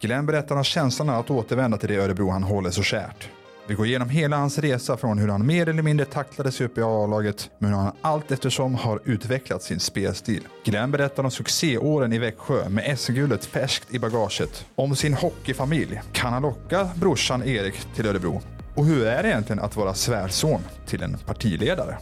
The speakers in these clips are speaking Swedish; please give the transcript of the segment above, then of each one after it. Glenn berättar om känslan av att återvända till det Örebro han håller så kärt. Vi går igenom hela hans resa från hur han mer eller mindre tacklade sig upp i A-laget, men hur han allt eftersom har utvecklat sin spelstil. Glenn berättar om succéåren i Växjö med SM-guldet färskt i bagaget, om sin hockeyfamilj, kan han locka brorsan Erik till Örebro? Och hur är det egentligen att vara svärson till en partiledare?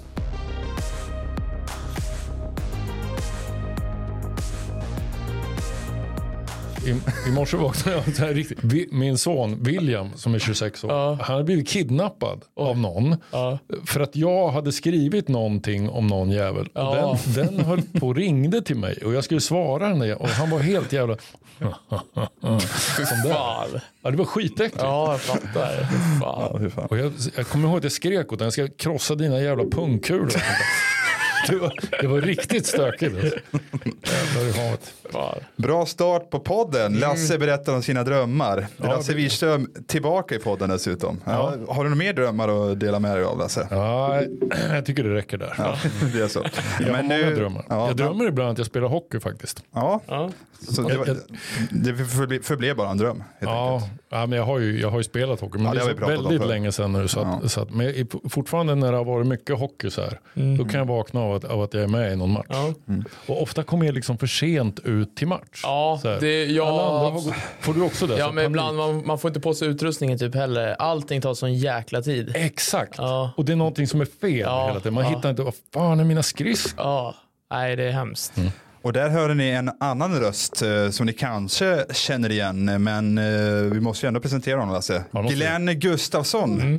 I, I morse vaknade jag så här riktigt. Vi, min son William som är 26 år. Han hade blivit kidnappad av någon. För att jag hade skrivit någonting om någon jävel. Och den, den höll på och ringde till mig. Och jag skulle svara den där. Och han var helt jävla... Som där. Ja, det var skitäckligt. Ja, jag fattar. Fan. Hur fan? Och jag, jag kommer ihåg att jag skrek åt honom. Jag ska krossa dina jävla pungkulor. och sånt där. Det var, det var riktigt stökigt. alltså. Jävlar i havet. Fan. Bra start på Mm. podden. Lasse berättar om sina drömmar. Lasse Wirström tillbaka i podden dessutom. Ja. Har du några mer drömmar att dela med dig av Lasse? Ja, jag tycker det räcker där. Ja, det är så. Jag har många nu- drömmar. Ja, jag drömmer ibland att jag spelar hockey faktiskt. Ja, Ja. så det, var, det förble- förblev bara en dröm. Helt enkelt. Ja, ja, men jag har, ju, jag har ju spelat hockey, men Ja, det har det vi är så pratat om väldigt förut. länge sedan nu. Så att, så att, men i- fortfarande när det har varit mycket hockey så här, då Mm. kan jag vakna av att, av att jag är med i någon match. Ja. Och ofta kommer jag liksom för sent ut till match. Ja, Så här. det- ja. Alla andra har gått- får Alltså, du också det? Så Ja, men panik. ibland man, man får inte på sig utrustningen typ heller. Allting tar sån jäkla tid. Exakt, Ja. och det är någonting som är fel Ja, hela tiden. Man ja. hittar inte, vad fan är mina skridskor? Ja, nej det är hemskt. Och där hörde ni en annan röst eh, som ni kanske känner igen, eh, men eh, vi måste ju ändå presentera honom Lasse. måste vi. Mm. Glenn Gustafsson.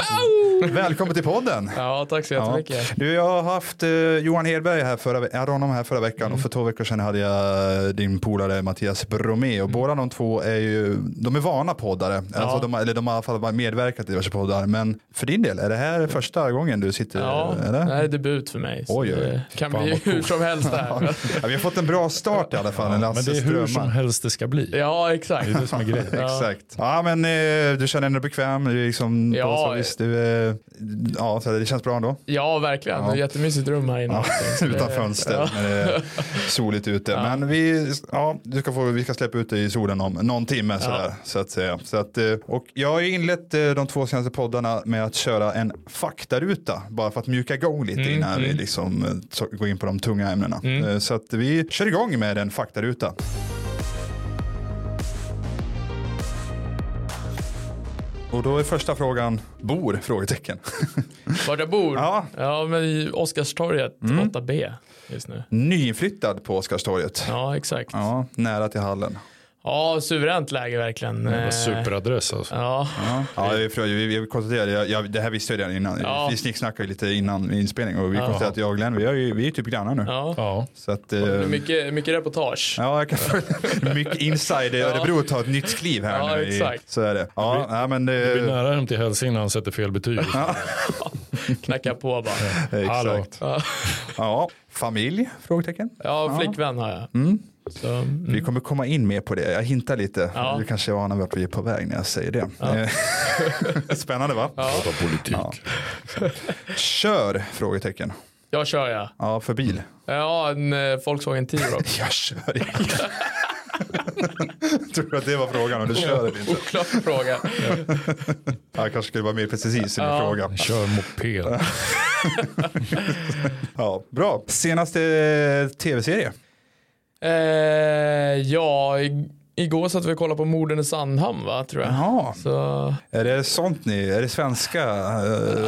Välkommen till podden. Ja, tack så Ja. jättemycket. Du, jag har haft eh, Johan Hedberg här förra, ve- jag hade honom här förra veckan Mm. och för två veckor sedan hade jag eh, din polare Mattias Bromé Mm. och båda de två är ju, de är vana poddare, alltså de, har- eller de har i alla fall varit medverkat i diverse poddar, men för din del, är det här första gången du sitter, Ja, det eller? här är debut för mig. så Oj, oj, oj. det kan Fan, bli vad hur som helst där. Ja, vi har fått en bra start i alla fall, en Men Lasses det är hur som drömmar. helst det ska bli. Ja, exakt. Det är det som är grejen. Exakt. Ja, men eh, du känner dig bekväm, du är liksom, Ja, ja, visst, du, eh, ja, så det känns bra ändå. Ja, verkligen. Det är jättemysigt rum här inne. Så det- Utan fönster när det är soligt ute. Men vi, ja, du ska få, vi ska släppa ut dig i solen om någon timme sådär, så att säga. Så att, eh, och jag har ju inlett eh, de två senaste poddarna med att köra en faktaruta bara för att mjuka igång lite Mm, innan vi liksom, eh, så- går in på de tunga ämnena. Eh, Så att vi kör igång med en faktaruta. Och då är första frågan, bor? Frågetecken. Vart jag bor? Ja. ja men i Oscarstorget 8B just nu. Nyinflyttad på Oscarstorget. Ja, exakt. Ja, Ja, nära till hallen. suveränt läge verkligen. Det var Eh, superadress alltså. Ja, Ja, vi, vi, vi konstaterade, jag, jag, det här visste jag redan innan. Ja. Vi snicksnackade lite innan inspelning och vi konstaterade att jag och Glenn, vi är ju vi är typ grannar nu. ja. Ja. Så att, Det är eh, mycket, mycket reportage. ja, jag kan mycket inside Örebro tar ett nytt kliv här Ja, nu. i- exakt. Så är det. Ja, ja men eh, Det är nära hem till Hälsingland han sätter fel betyg. Knacka på bara. Hallå. exakt. Ja, familj? Frågetecken. Ja, flickvän har jag. Så, mm. Vi kommer komma in mer på det. Jag hintar lite. Ja. Du kanske anar vart vi är på väg när jag säger det. Eh, Spännande va? Prata politik. Kör? Frågetecken. Jag kör jag. Ja, för bil. Ja, en eh, Volkswagen T-Roc. Jag kör inte. Tror du att det var frågan om du kör eller inte? Oklar fråga. Ja, Jag kanske skulle vara mer precis i min fråga. Kör moped. Ja, bra. Senaste tv-serie. Eh, ja, i- igår satt vi och kollade på morden i Sandhamn va, tror jag. Jaha, Så, är det sånt ni, är det svenska? eh,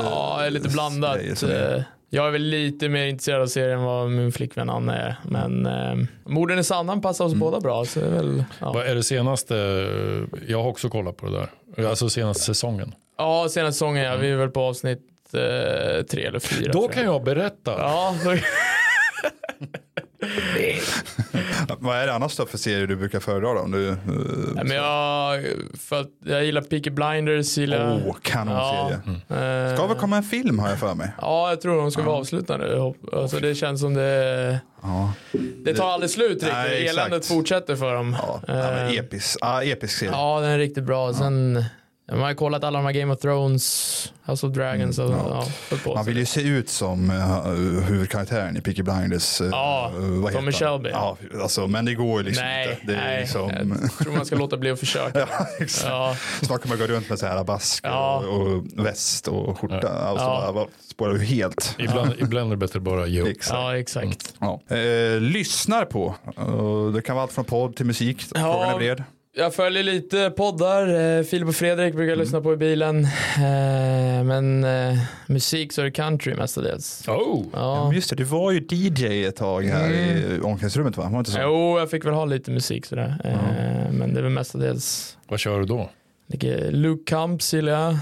ja, jag är lite blandat. grejer som är- Eh, Jag är väl lite mer intresserad av serien än vad min flickvän Anna är. Men eh, morden i Sandhamn passar oss Mm. båda bra. Så det är väl, ja. Vad är det senaste? Jag har också kollat på det där. Alltså senaste säsongen. ja, senaste säsongen ja. Vi är väl på avsnitt eh, tre eller fyra. Då tror kan jag berätta. Ja, så, Vad är det annars då för serier du brukar föredra då? Om du, eh, Nej, men jag, för att jag gillar Peaky Blinders. Gillar, Åh, kanonserie. eh, Oh. Ska väl komma en film har jag för mig. Ja, jag tror de ska vara avslutande. hopp- Alltså, det känns som det, Ja. det tar aldrig slut riktigt. Nej, exakt. Eländet fortsätter för dem. Ja, nej, men E Eh, episk, ja, episk serie. Ja, den är riktigt bra. Sen, man har ju kollat alla de här Game of Thrones, House of Dragons. Mm, alltså, ja. ja. höll på. Man vill ju se ut som eh, huvudkaraktären i Peaky Blinders. eh, Ja, eh, vad heter Tommy han? Shelby. Ja, alltså, men det går ju liksom nej, inte. Det är nej. Liksom, Jag tror man ska låta bli att försöka. ja, exakt. Ja, Snart kommer jag gå runt med så här basker Ja. och, och väst och skjorta. Ja. Alltså, Ja. bara, bara spårar du helt. Ibland, ibland är det bättre att bara ge upp. Exakt. ja exakt. Ja. Eh, lyssnar på. Eh, det kan vara allt från podd till musik. Frågan är bred. Jag följer lite poddar. Eh, Filip och Fredrik brukar jag lyssna på i bilen. Eh, men eh, musik så är det country mestadels. Oh. Ja. Mm. Men Just det, du var ju DJ ett tag här i omklädningsrummet va? Var det inte så? Jo, jag fick väl ha lite musik sådär. Eh, Men det är väl mestadels Vad kör du då? like, Luke Combs gillar jag.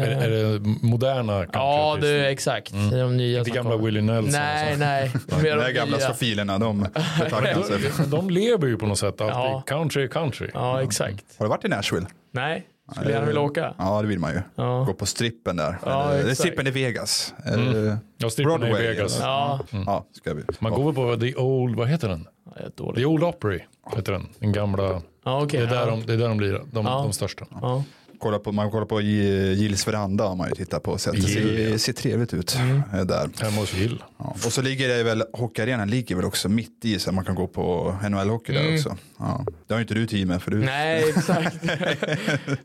Eh, Är, är det moderna ja, det countryartister? är exakt. Det är de nya Inte som gamla kommer. Willie Nelson och Nej, sånt. nej. Mer De där gamla nya. skofilerna, de betackar sig. De, de lever ju på något sätt alltid. Ja. Country är country. Ja, exakt. Har du varit i Nashville? Nej, skulle gärna vilja åka. Ja, det vill man ju. Ja. Gå på strippen där. Eller- Ja, det är exakt. Mm. strippen i Vegas. Eller- Jag strippade i Broadway, Vegas. eller? Ja, Ja, ska vi. Man Ja. går väl på The Old, vad heter den? jag är The dålig. Old Opry heter den. Den gamla. Ja, Det okej. är där ja. de, det är där de lirar, de, Ja. de största. Ja. Kolla på, man kollar på Gi- Gills veranda har man ju tittat på. Så att det ser, Yeah. ser trevligt ut Mm. eh, där. Hemma hos Hill. Ja. Och så ligger det väl, hockeyarenan ligger väl också mitt i så man kan gå på NHL-hockey där också. Ja. Det har ju inte du tid med för du... Mm. Nej, exakt.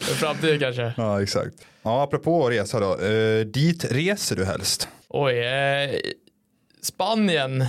För framtiden kanske. Ja, exakt. Ja, apropå resa då. Eh, dit reser du helst? Oj, eh, Spanien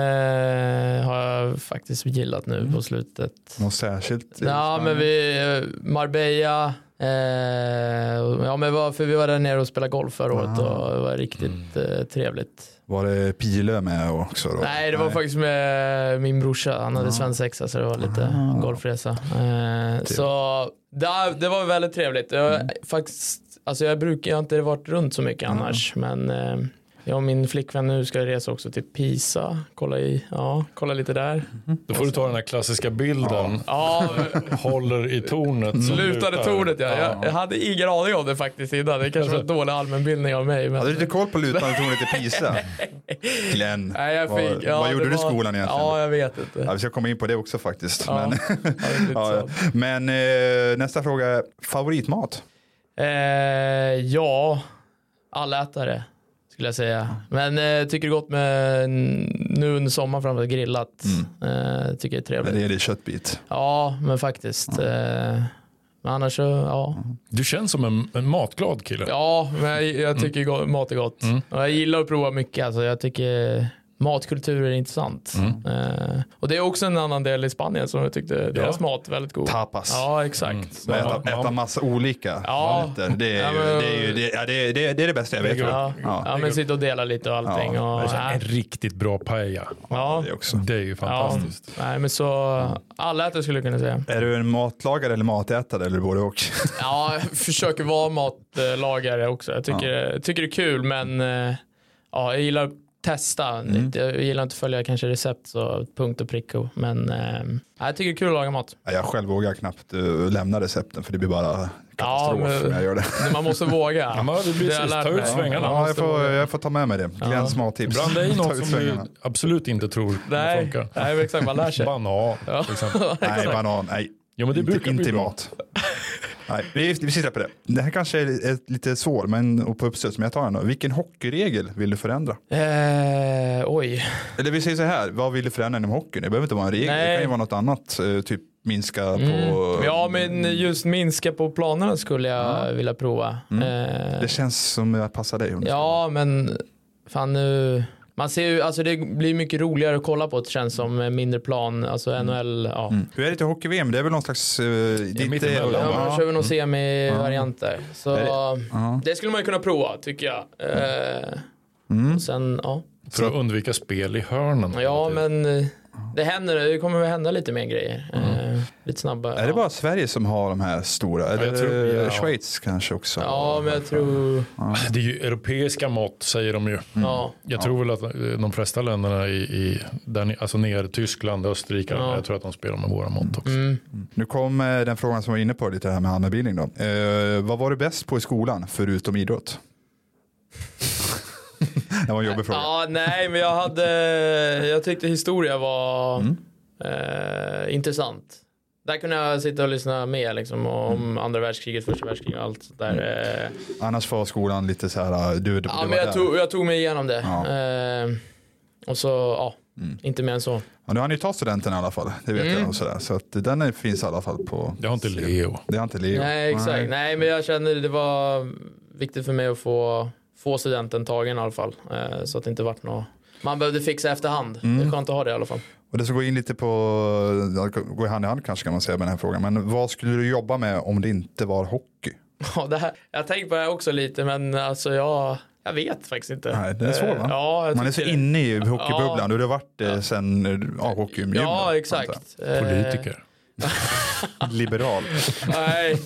eh, har jag faktiskt gillat nu på slutet. Något särskilt? eh, Ja, Spanien? men vi, eh, Marbella, eh, ja men var, för vi var där nere och spelade golf förra året och det var riktigt eh, trevligt. Var det Pilö med också då? Nej, det var faktiskt med min brorsa, han hade svensexa så det var lite golfresa. Eh, så det, det var väldigt trevligt. Jag, faktiskt, alltså jag, brukar, jag har inte varit runt så mycket annars, men eh, jag och min flickvän nu ska resa också till Pisa, kolla, i, ja, kolla lite där. Då får du ta den här klassiska bilden. Ja, Håller i tornet. som Lutade lutar. tornet ja. Jag, jag hade ingen aning om det faktiskt innan. Det kanske var Alltså. en dålig allmänbildning av mig. Hade du Men... inte koll på lutande tornet i Pisa? Glenn, Nej, jag vad, fick, ja, vad gjorde det du i var- skolan egentligen? Ja, jag vet inte. Ja, vi ska komma in på det också faktiskt. Ja. Men, Ja, det är lite ja, så. men eh, nästa fråga är favoritmat. Eh, ja, allätare skulle jag säga. Men eh, tycker det är gott med nu under sommaren framförallt grillat. Eh, tycker det är Men trevligt. det är det köttbit. Ja, Mm. men faktiskt. Eh, men annars så, ja. Du känns som en, en matglad kille. Ja, men jag, jag tycker go- mat är gott. Och jag gillar att prova mycket. Alltså, jag tycker matkultur är intressant. Eh, och det är också en annan del i Spanien som jag tyckte deras mat är väldigt god. Tapas. Ja, Mm. exakt. Och Så- äta, äta massa olika Ja. rätter. Det är Ja, ju- men- det är ju- det- ja, det- det- det är det bästa jag vet. Ja, ja, men sitta och dela lite och allting. Ja, och, En riktigt bra paella. ja, Det också. Det är ju ja. fantastiskt. Nej, men så alla äter skulle jag kunna säga. Är du en matlagare eller matätare eller både och? Ja, jag försöker vara matlagare också. Jag tycker, jag tycker det är kul, men eh, ja, jag gillar att testa. Jag gillar inte att följa kanske recept så punkt och prick. och- Men eh, ja, jag tycker det är kul att laga mat. Ja, Jag själv vågar knappt eh, lämna recepten för det blir bara katastrof Ja, men- när jag gör det. Man måste våga. Ja, men det blir Det har jag precis. lärt Ta mig. ut svängarna. Ja, jag, får, jag får ta med mig det. Glänns mattips. Blanda i Ta något ut som du svängarna. absolut inte tror kommer Nej, funka. nej men exakt, man lär sig. Banan till exempel. Nej, banan. Nej. Jo, men det inte, brukar bli inte i bra. mat. Nej, vi, vi släpper det. Det här kanske är ett, lite svår men, och på uppstöt, men jag tar den då. Vilken hockeyregel vill du förändra? Eh, oj. Eller vi säger så här, vad vill du förändra inom hockeyn? Det behöver inte vara en regel, det Nej. Mm. kan ju vara något annat. eh, Typ minska på... Ja, men just minska på planerna skulle jag vilja prova. Eh, Det känns som jag passar dig. Jonas. Ja, men fan nu. Man ser ju, alltså det blir mycket roligare att kolla på det känns som med mindre plan, alltså Mm. NHL, ja. Hur är det till hockey-VM? Det är väl någon slags... Uh, ditt, mittemellan. Ja, men de ja, kör väl någon semi-variant där. Så Ja. det skulle man ju kunna prova tycker jag. Eh, Mm. och sen, ja. För att undvika spel i hörnen. Ja, men eh, det händer, det kommer väl hända lite mer grejer. Eh, Lite snabbare. Mm. Är det bara Sverige som har de här stora? Eller jag tror- ja. Schweiz kanske också? Ja, men jag tror... Det är ju europeiska mått säger de ju. Mm. Ja. Jag tror väl att eh, de flesta länderna i, i där, ni- alltså ner Tyskland, Österrike, Ja. jag tror att de spelar med våra mått också. Mm. Nu kom eh, den frågan som jag var inne på lite här med allmänbildning då. Eh, vad var du bäst på i skolan förutom idrott? det var en jobbig fråga. Ja, nej, men jag hade... Jag tyckte historia var Mm. eh, intressant. Där kunde jag sitta och lyssna med liksom, Mm. om andra världskriget, första världskriget och allt sånt där. Eh, Annars var skolan lite så här, eh, du, det, ja, det men var där. jag tog, jag tog mig igenom det. Ja. Mm. Eh, och så, ja, inte mer än så. Ja, nu har ni tagit studenten i alla fall, det vet Mm. jag. Och så där. så att den är, finns i alla fall på... Det har inte Leo. Det har inte Leo. Nej, exakt. Nej. men jag känner det var viktigt för mig att få, få studenten tagen i alla fall. Eh, så att det inte vart något man behövde fixa efterhand. Mm. Det är skönt att ha det i alla fall. Och det ska gå in lite på, ja, gå hand i hand kanske kan man säga med den här frågan. Men vad skulle du jobba med om det inte var hockey? Ja, det här, jag har tänkt på det här också lite, men alltså jag, jag vet faktiskt inte. Nej, det är svårt va? Eh, Ja, jag man är så tycker det. inne i hockeybubblan och det har varit det sen eh, ja, hockeygymnasiet. Ja, exakt. Eh, Politiker. Liberal. Nej,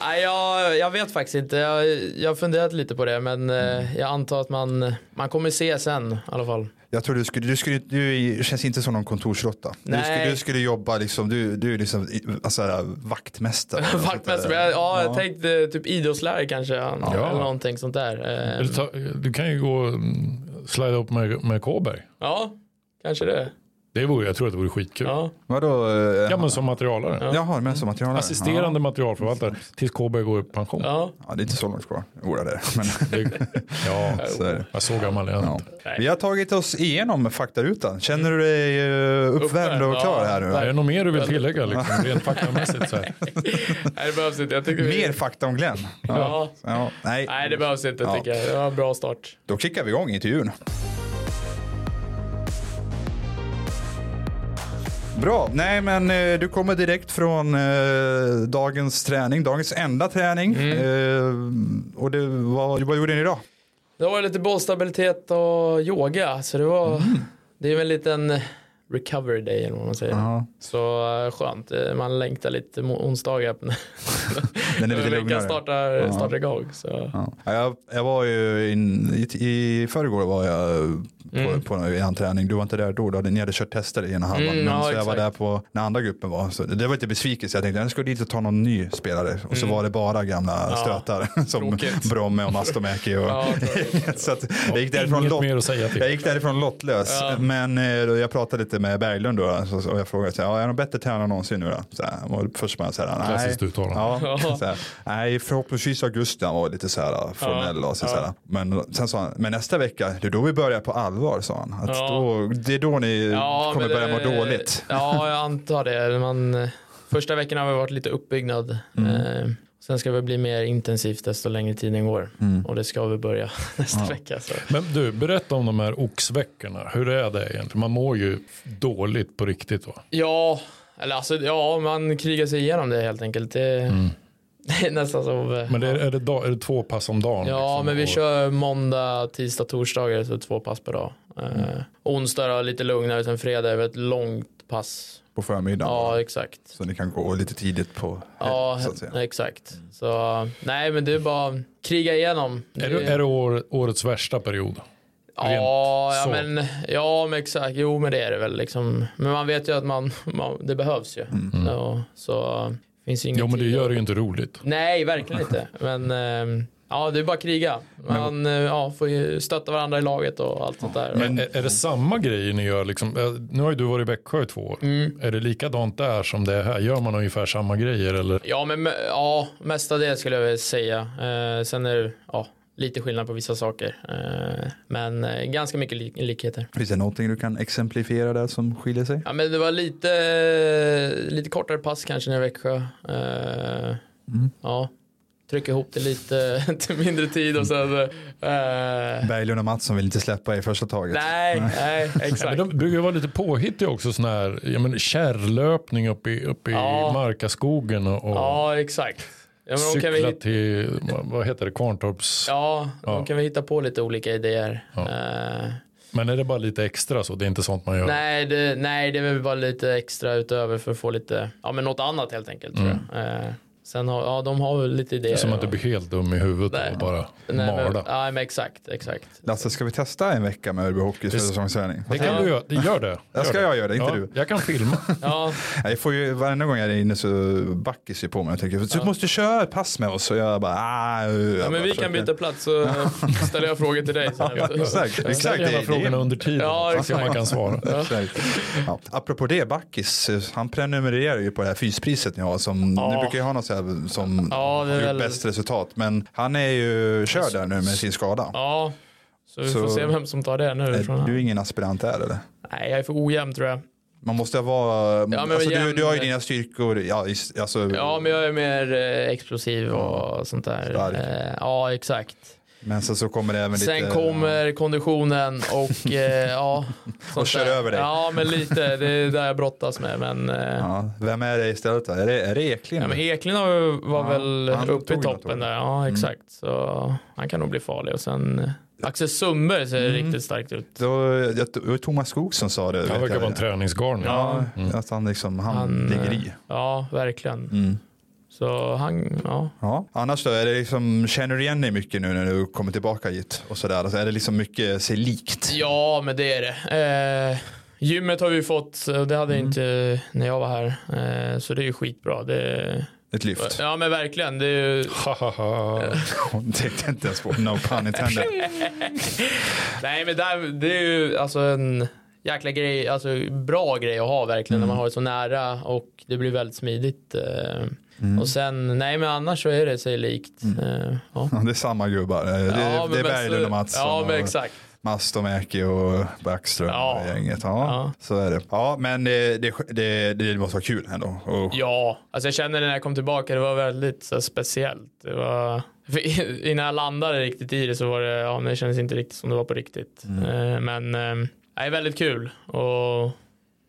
nej jag, jag vet faktiskt inte. Jag, jag har funderat lite på det, men Mm. eh, jag antar att man, man kommer se sen i alla fall. Jag tror du skulle, du skulle, du känns inte som någon kontorsrotta. Du Nej. skulle, du skulle jobba liksom, du, du är liksom i- alltså, här, vaktmästare. Vaktmästare, men jag, ja, jag tänkte typ idrottslärare kanske. Eller någonting sånt där. Eh, Eller ta- Du kan ju gå mm, slida upp med, med Kåberg. Ja, kanske det. Det vore, jag tror att det vore skitkul. Ja. Vadå? eh, Ja, men som materialare. Jaha, men som materialare. Assisterande materialförvaltare tills Kåberg går i pension. Ja. Ja, det är inte så långt kvar. Jo, det är det. Men, Det, ja, så är det. jag så gammal är jag inte. Vi har tagit oss igenom faktarutan. Känner du dig eh, uppvärmd och Uppvärmd, klar ja. här nu? Är det något mer du vill tillägga liksom, rent faktamässigt? Så här? Nej, det behövs inte. Jag tycker vi... Mer fakta om Glenn. Ja. Ja, nej. Nej, det behövs inte tycker jag. Det var en bra start. Då kickar vi igång intervjun. Bra, nej men eh, du kommer direkt från eh, dagens träning, dagens enda träning. Eh, och det, vad, vad gjorde ni idag? Det var lite bollstabilitet och yoga, så det var... Mm. Det är väl en liten recovery day eller vad man säger. Så eh, skönt. Eh, Man längtar lite mo- onsdagar när Den är lite veckan lugnare. startar, startar igång. Så. Ja. Jag, jag var ju in, i, i förrgår var jag på, på en träning. Du var inte där då, då hade, ni hade kört tester i ena halvan. Mm, men ja, så jag var exakt. där på när andra gruppen var. Så det, det var lite besvikelse. Jag tänkte jag ska dit och ta någon ny spelare. Och så var det bara gamla stötar som Mm. tråkigt. Bromme och Mastomäki. Och, Ja, så att, jag gick därifrån Inget lott, mer att säga till. jag gick därifrån lottlös. Men eh, då jag pratade lite med Berglund då, så, och jag frågade så här, "Ja, är de bättre tränare än någonsin nu då? Så här, och först var jag så här, nej. Klassiskt uttalande. Ja, så här, nej, förhoppningsvis i augusti han var lite så här formell. Och så, så här. Men sen sa han, men nästa vecka, det är då vi börjar på allvar, sa han. Att Ja. då, det är då ni Ja, kommer men börja må det- dåligt. Ja, jag antar det. Man, första veckan har vi varit lite uppbyggnad. Mm. Eh, sen ska vi bli mer intensivt desto längre tiden går. mm, Och det ska vi börja nästa vecka. Så. Men du, berätta om de här oxveckorna. Hur är det egentligen? Man mår ju dåligt på riktigt va? Ja, eller alltså, ja, man krigar sig igenom det helt enkelt. Det, Mm. det är nästan som... Men det är, är, det dag, är det två pass om dagen? Ja, liksom? men vi Och- kör måndag, tisdag, torsdagar, så två pass per dag. Eh, onsdag är lite lugnare, sen fredag är det ett långt pass. På förmiddagen. Ja, exakt. Så ni kan gå lite tidigt på Ja, så att säga. exakt. Så nej, men det är bara kriga igenom. Är det, är det år, årets värsta period? ja, ja, så? men, ja, men exakt. Jo, men det är det väl liksom. Men man vet ju att man, man det behövs ju. Så, så finns ju inget. Ja, Mm. men det gör det ju inte roligt. Nej, verkligen inte. Men eh, ja, det är bara kriga. Man eh, ja, får ju stötta varandra i laget och allt sånt där. Men är, är det samma grejer ni gör? Liksom, Eh, nu har ju du varit i Växjö i två år. Mm. Är det likadant där som det är här? Gör man ungefär samma grejer? Eller? Ja, men ja, mestadels skulle jag väl säga. Eh, sen är det ja, lite skillnad på vissa saker. Eh, men eh, ganska mycket lik- likheter. Finns det någonting du kan exemplifiera där som skiljer sig? Ja, men det var lite, lite kortare pass kanske när i Växjö. Eh, Mm. Ja, trycka ihop det lite till mindre tid och sen... eh, Berglund och Mattsson vill inte släppa i första taget. nej, nej, Men exakt. de brukar ju vara lite påhittiga också. Sån här, ja, men, kärrlöpning uppe i, uppe i Ja. Markaskogen och, och Ja, exakt. Ja, men de kan vi cykla hitta, till vad heter det, Kvarntorps... ja, de kan vi hitta på lite olika idéer. Eh, Men är det bara lite extra så? Det är inte sånt man gör? Nej det, nej, det är väl bara lite extra utöver för att få lite, ja men något annat helt enkelt tror jag. Eh, sen har, ja de har väl lite idéer. Så man inte och- blir helt dum i huvudet Nej. och bara Nej, men, mala. nej men exakt, exakt. Lasse, ska vi testa en vecka med Örebro Hockeys försäsongsträning? Det kan du göra. Det- Gör det. Det ska det. jag göra, inte ja, du. Jag kan filma. Ja, Nej, Jag får ju, varenda gång jag är inne så backis ju på mig och tänker du måste köra ett pass med oss. Och jag bara, ah, jag ja bara men vi försöker- kan byta plats så ställer jag frågor till dig sen. Exakt, Vi exakt. ställer alla Det- det- frågorna under tiden. Ja, så man exakt. kan svara. Exakt. Ja. Apropå det, Backis, eh, han prenumererar ju på det här fyspriset ni har. Som, Ni brukar ju ha något så här, som Ja, det är har gjort väl- bäst resultat. Men han är ju körd där nu med sin skada. Ja, så vi Så- får se vem som tar det nu. Är Från Du är ingen aspirant där eller? Nej, jag är för ojämn tror jag. Man måste vara... men alltså, du, jämn- du har ju dina styrkor. Ja, is- alltså, Ja, men jag är mer eh, explosiv Ja. och sånt där. Stark. Eh, Ja, exakt. Men sen så kommer det även lite... Sen kommer konditionen och eh, ja. sånt Och kör där. över dig. Ja, men lite. Det är där jag brottas med. Men, eh, ja. Ja, vem är det istället då? Är det, är det Eklind? men Eklind har ju- var Ja, väl han uppe tog i något Mm. år. toppen där. Ja, exakt. Så han kan nog bli farlig. Och sen eh, Axel Sundberg Mm. ser riktigt starkt ut. Då, jag- det var Thomas Skog som sa det. Han vet verkar jag. vara en Mm. träningsgarn. Ja, att han, liksom, han, Han, ligger eh, i. Ja, verkligen. Mm. Så han, ja. Ja. Annars då, är det liksom, känner du igen dig mycket nu när du kommer tillbaka hit? Och sådär? Alltså, är det liksom mycket sig likt? Ja, men det är det. Eh, gymmet har vi ju fått, och det hade Mm. jag inte när jag var här. Eh, så det är ju skitbra. Det, Ett lyft? ja, men verkligen. Det är ju, Ha, ha, ha. Hon tänkte inte ens på no pun intended. nej, men där, det är ju alltså en jäkla grej, alltså bra grej att ha verkligen Mm. när man har det så nära och det blir väldigt smidigt. Eh, Mm. Och sen, nej men annars så är det sig likt. Eh, ja. Ja, Det är samma gubbar. Eh, Det, Ja, är- det men- är men så- Berglund och Mattsson. Ja, men och- exakt. Mastomäki och Backström Ja. och gänget. Ja, Ja. så är det. Ja, men eh, det, det, det, det måste vara kul ändå. Och, Ja, alltså jag känner det när jag kom tillbaka, det var väldigt så här, speciellt. Det var... för Innan jag landade riktigt i det så var det, ja men det kändes inte riktigt som det var på riktigt. Mm. Eh, Men eh, det är väldigt kul och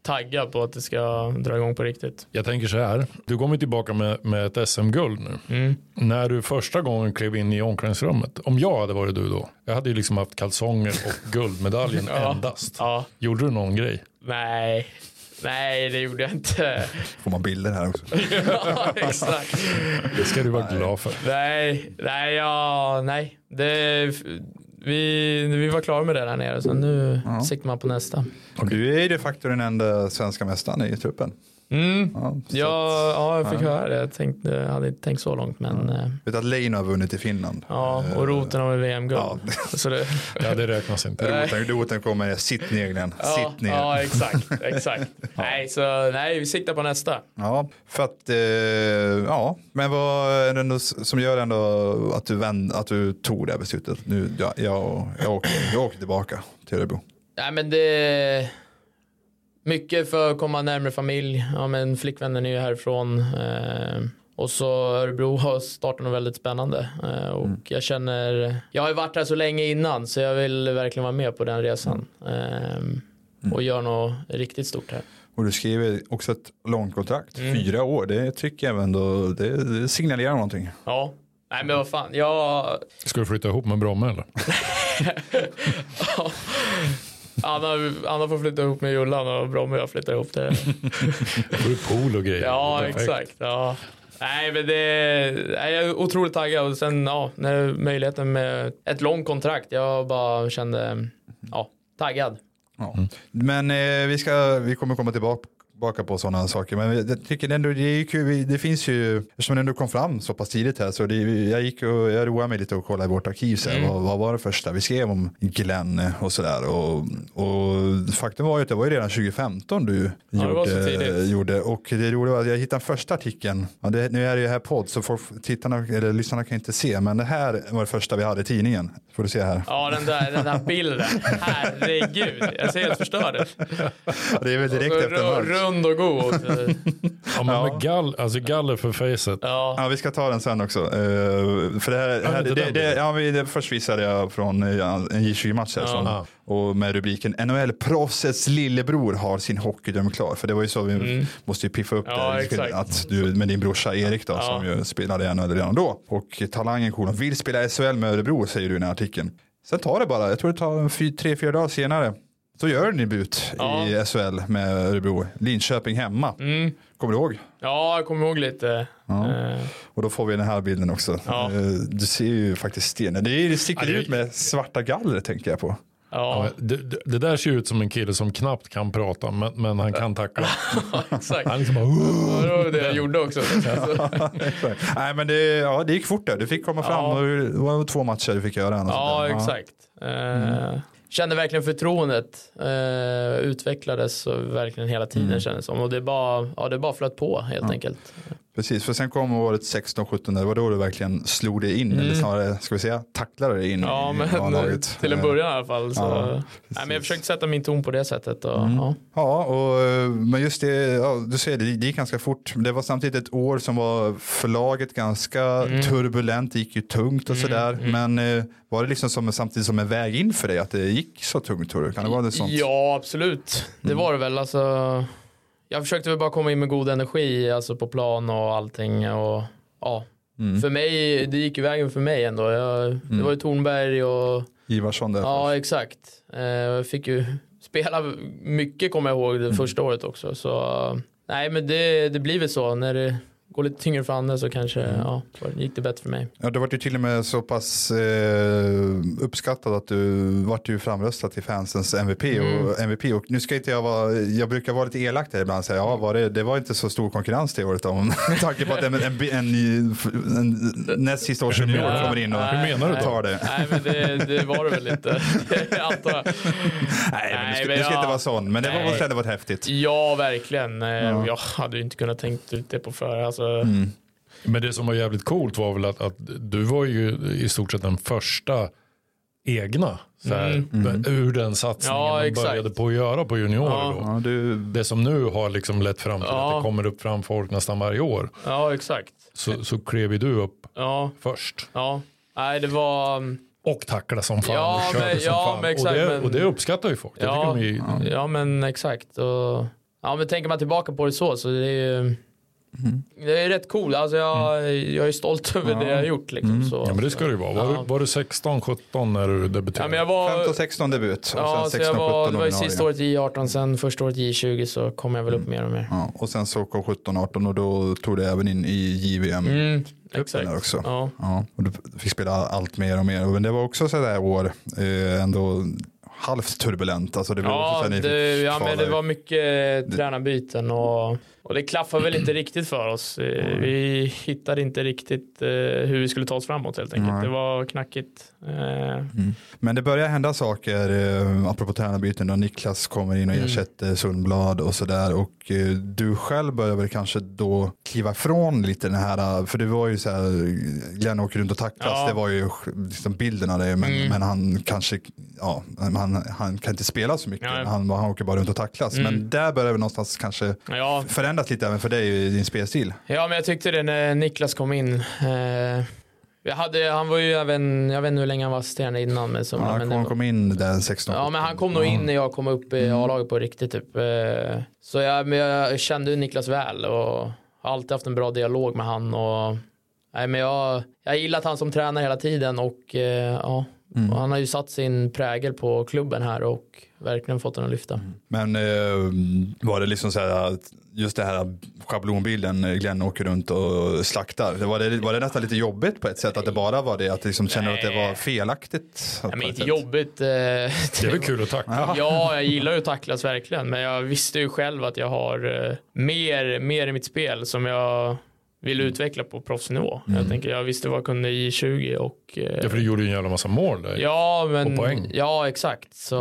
taggad på att det ska dra igång på riktigt. Jag tänker så här. Du kommer tillbaka med, med ett SM-guld nu. Mm. När du första gången klev in i omklädningsrummet. Om jag hade varit du då. Jag hade ju liksom haft kalsonger och guldmedaljen Ja. endast. Ja, Gjorde du någon grej? nej. Nej, det gjorde jag inte. Får man bilder här också? ja, exakt. Det ska du vara glad för. Nej, nej, ja, nej. Det, vi, vi var klara med det där nere, så nu siktar man på nästa. Du är ju de facto den enda svenska mästaren i truppen. Mm. Ja, så Ja, ja, jag fick ja. höra det. Jag, tänkte, jag hade inte tänkt så långt. Men, eh, Jag vet att Leino har vunnit i Finland. ja, Eh, och roten har väl VM-guld. Ja. Så det- Ja, det räknas inte. Roten, roten kommer, sitt ner Glenn, Ja, sitt ner. ja, exakt. exakt. Nej, så nej, vi siktar på nästa. Ja, för att, eh, ja, men vad är det ändå som gör ändå att du, vänd, att du tog det här beslutet? Nu, jag, jag, jag, åker, jag åker tillbaka till Örebro. Nej, men det... Mycket för att komma närmare familj. Ja, men flickvännen är ju härifrån. Eh, och så Örebro har startat något väldigt spännande. Eh, och jag känner... Jag har ju varit här så länge innan så jag vill verkligen vara med på den resan. Eh, och göra något riktigt stort här. Och du skriver också ett långt kontrakt, Mm. fyra år. Det tycker jag ändå, det, det signalerar någonting. Ja. Nej men vad fan, jag... Ska du flytta ihop med Bromma eller? Anna, Anna får flytta ihop med Jullan och Bromme och jag flyttar ihop det. Får du pool och grejer? Ja, Perfekt. exakt. Ja. Nej, men det... Nej, jag är otroligt taggad och sen ja, när möjligheten med ett långt kontrakt. Jag bara kände, ja, taggad. Ja. Mm. Men eh, vi, ska, vi kommer komma tillbaka tillbaka på sådana saker. Men jag tycker ändå det är ju kul. Vi- Det finns ju, eftersom det ändå kom fram så pass tidigt här så det, jag gick och jag roade mig lite och kollade i vårt arkiv. Så Mm. här, vad, vad var det första vi skrev om Glenn och sådär. Och, och faktum var ju att det var ju redan 2015 du det var så gjorde, tidigt. gjorde. Och det roliga var att jag hittade den första artikeln. Ja, det, nu är det ju här podd så folk, tittarna eller lyssnarna kan inte se. Men det här var det första vi hade i tidningen. Får du se här. Ja, den där, den där bilden. Herregud, jag ser helt förstörd ut. Det är väl direkt Så efter ru- match. Alltså, Rund och god. Ja, men med gall, alltså galler för facet. Ja, Ja, vi ska ta den sen också. Eh, för det här, det här inte det, den det, bilden. ja, vi, det först visade jag från eh, en J20-match här som, Ja. och med rubriken NHL-proffsets lillebror har sin hockeydröm klar. För det var ju så vi måste ju piffa upp Mm. Ja, det. Vi skulle- exakt. Att du med din brorsa Erik då, som ju spelade i NHL redan då. Och talangen kolon vill spela SHL med Örebro säger du i den här artikeln. Sen tar det bara, jag tror det tar en fy, tre, fyra dagar senare. Så gör den debut Ja. i SHL med Örebro. Linköping hemma. Mm. Kommer du ihåg? Ja, jag kommer ihåg lite. Ja. Eh, Och då får vi den här bilden också. Ja. Eh, Du ser ju faktiskt stenen. Det, är- det sticker Ja, det är- ut med svarta galler tänker jag på. ja, Ja, det, det- det där ser ut som en kille som knappt kan prata men, men han kan tackla. exakt. Han liksom bara, "Åh!" Ja, det var det jag gjorde också. Alltså, Så, Exakt. Nej men det, ja, det gick fort där. Du fick komma fram Ja. och det var två matcher du fick göra. annars ja, inte. exakt. Eh, Mm. Kände verkligen förtroendet. Eh, utvecklades så verkligen hela tiden Mm. kändes som. Och det bara, ja, det bara flöt på helt enkelt. Precis, för sen kom året 16-17 där. Det var då du verkligen slog dig in, eller snarare ska vi säga tacklade dig in Mm. Ja, i eh, men A-laget. till en början i alla fall. Så, Ja, nej, men jag precis. Mm. försökte sätta min ton på det sättet. Och, ja. Ja, och, eh, men just det, ja, du ser det, det gick ganska fort. Men Det var samtidigt ett år som var förlaget ganska Mm. turbulent, det gick ju tungt och sådär. Men eh, var det liksom som, samtidigt som en väg in för dig att det gick så tungt tror du? Kan det vara det sånt? Mm. Ja, absolut. Det var det väl. Alltså, jag försökte väl bara komma in med god energi alltså på plan och allting. Och, ja. Mm. För mig, det gick ju vägen för mig ändå. Jag, Det var ju Tornberg och Ivarsson där. ja, exakt. Eh, Jag fick ju spela mycket kommer jag ihåg det första året också. Så nej, men det, det blir väl så. När det går lite tyngre för andra så kanske ja, gick det bättre för mig. Ja, det var ju till och med så pass eh, uppskattat att du vart ju framröstad till fansens MVP. Mm. Och, MVP och nu ska inte jag vara, jag brukar vara lite elak där ibland och säga, ja var det, det var inte så stor konkurrens det året om tanke på att en, en, en, en näst sista års junior menar du? kommer in och Nej, menar du nej. tar det. Nej, men det, det var det väl lite. antar jag. Nej, men du Nej, ska, men du ska jag- inte vara sån, men det var Nej. måste ändå varit häftigt. Ja, verkligen. Eh, Jag hade ju inte kunnat tänkt ut det på förhand. Alltså, Men det som var jävligt coolt var väl att, att du var ju i stort sett den första egna så här, ur den satsningen Mm. Ja, de exakt. började på att göra på juniorer. Ja. Då. Ja, du, Det som nu har liksom lett fram till Ja. att det kommer upp fram folk nästan varje år Ja, exakt. så, så klev ju du upp Ja, först. ja. Nej, det var... Och tacklade som fan Ja, och körde men- som ja, fan. men exakt, och, det, men- och det uppskattar ju folk. Det Ja. tycker de är, Ja, men exakt. Och, ja, men tänker man tillbaka på det så, så det är ju... Det är rätt coolt. Alltså, jag, jag är stolt över det jag har gjort. Liksom, så. Mm. Ja men det ska det ju vara. Var, Ja. du, var du 16-17 när du Ja, debuterade? men jag var... 15-16 debut och Ja, så sen jag 16-17 var, det var ju ordinarie. Mm. sista året i 18, sen första året i 20 så kom jag väl upp mer och mer. Ja, och sen så kom 17-18 och då tog det även in i JVM. Mm, där exakt. också. Ja. Ja, och du fick spela allt mer och mer. Men det var också sådär år, eh, ändå halvt turbulent. Alltså det blev också Ja, såhär, ni det, fick ja men kvala. det var mycket eh, tränarbyten och, och det klaffade väl inte riktigt för oss. Eh, Vi hittade inte riktigt eh, hur vi skulle ta oss framåt helt enkelt. Nej. Det var knackigt. Eh, Mm. Men det börjar hända saker, eh, apropå tränarbyten, då Niklas kommer in och Mm. ersätter Sundblad och sådär. Och eh, du själv börjar väl kanske då kliva ifrån lite den här, eh, för det var ju så här, Glenn åker runt och tacklas, Ja. Mm. det var ju liksom bilden av det, men, men han kanske, ja, han, han kan inte spela så mycket, Nej. Mm. han, han åker bara runt och tacklas. Men där börjar väl någonstans kanske ja, förändrat lite även för dig i din spelstil. ja, men jag tyckte det när Niklas kom in. Eh, jag hade, han var ju även, jag vet inte hur länge han var assisterande innan. Men, som, Ja, men han det kom, var- kom in där 16 Ja, men han kom nog in när jag kom upp i Mm. A-laget på riktigt. Typ. Eh, Så jag, men jag kände ju Niklas väl och har alltid haft en bra dialog med han. Och, nej, men jag, jag har gillat han som tränare hela tiden och eh, ja, Mm. och han har ju satt sin prägel på klubben här och verkligen fått den att lyfta. Mm. Men eh, var det liksom så här, att just det här schablonbilden, eh, Glenn åker runt och slaktar. Det var, det, var det nästan lite jobbigt på ett sätt? Att det bara var det, att du liksom känner att det var felaktigt? Nej, på men ett inte sätt? jobbigt. eh, Det är väl kul att tackla. Ja, jag gillar ju att tacklas verkligen, men jag visste ju själv att jag har eh, mer, mer i mitt spel som jag vill Mm. utveckla på proffsnivå. Jag, tänker, jag visste vad jag kunde i 20 och eh, Ja, för du gjorde ju en jävla massa mål där. Ja, men, Och poäng. Mm. Ja, exakt. Så,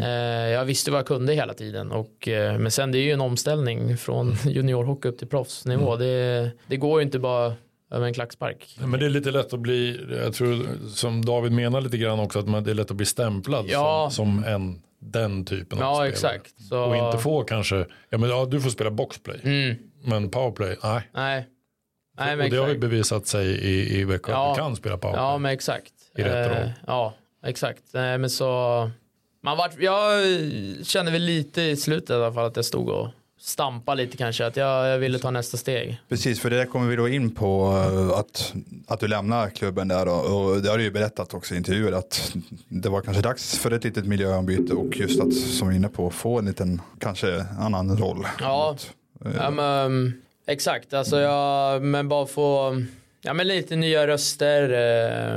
eh, jag visste vad jag kunde hela tiden. Och, eh, men sen det är ju en omställning från Mm. juniorhockey upp till proffsnivå. Det, det går ju inte bara över en klackspark. Men det är lite lätt att bli, jag tror som David menar lite grann också, att man, det är lätt att bli stämplad Ja. som, som en, den typen av Ja, spelare. exakt. Så, Och inte få kanske, ja men ja, du får spela boxplay, Mm, men powerplay, nej. nej. nej men och det har ju exakt. bevisat sig i, i Växjö Ja. att du kan spela powerplay. Ja, men exakt. Eh, I rätt roll. ja, exakt. Nej, men så, man vart, jag kände väl lite i slutet i alla fall att jag stod och stampa lite kanske. Att jag, jag ville ta nästa steg. Precis, för det där kommer vi då in på eh, att, att du lämnar klubben där och, och det har du ju berättat också i intervjuer att det var kanske dags för ett litet miljöombyte och just att som vi är inne på få en liten kanske annan roll. Ja. Eh, Ja, men, exakt, alltså Mm. jag, men bara få ja, men lite nya röster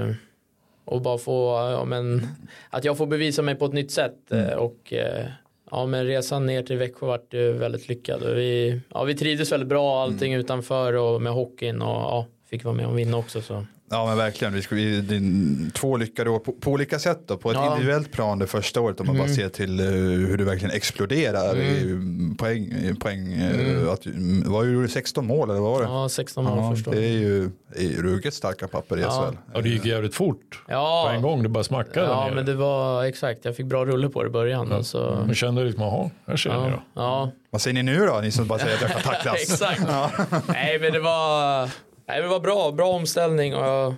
eh, och bara få, ja, men, att jag får bevisa mig på ett nytt sätt eh, Mm. och eh, ja, men resan ner till Växjö vart ju väldigt lyckad och vi, ja, vi trivdes väldigt bra Mm. allting utanför och med hockeyn och ja, fick vara med och vinna också så. Ja men verkligen, vi skulle, vi, din, två lyckade år på, på olika sätt då. På ett Ja. Mm. individuellt plan det första året om man bara ser till eh, hur du verkligen exploderar i poäng. i poäng eh, att, mm, vad gjorde du, 16 mål eller vad var det? Ja, 16 mål Ja, första det året. är ju det är ju ruggigt starka papper i Ja. SHL. Ja, det gick jävligt fort på en Ja, gång. Det bara smackade ja där nere. men det var exakt, jag fick bra rulle på det i början. och så Man kände liksom, jaha, här ser ni ja, då. ja, Vad säger ni nu då, ni som bara säger att jag kan tacklas? Exakt. Nej men det var, nej, men det var bra, bra omställning och jag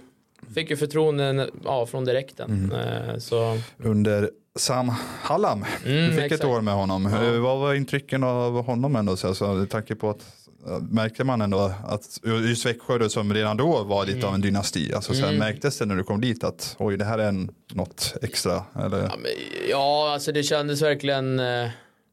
fick ju förtroende ja, från direkten. Eh, Så, Under Sam Hallam, Mm. du Mm, fick ett exakt. år med honom. Eh, Vad var intrycken av honom ändå? Så alltså, med tanke på att eh, Märkte man ändå att just Växjö då, som redan då var lite av en dynasti. Alltså, så här, Märktes det när du kom dit att oj det här är en, något extra? Eller? ja, men, ja alltså det kändes verkligen eh,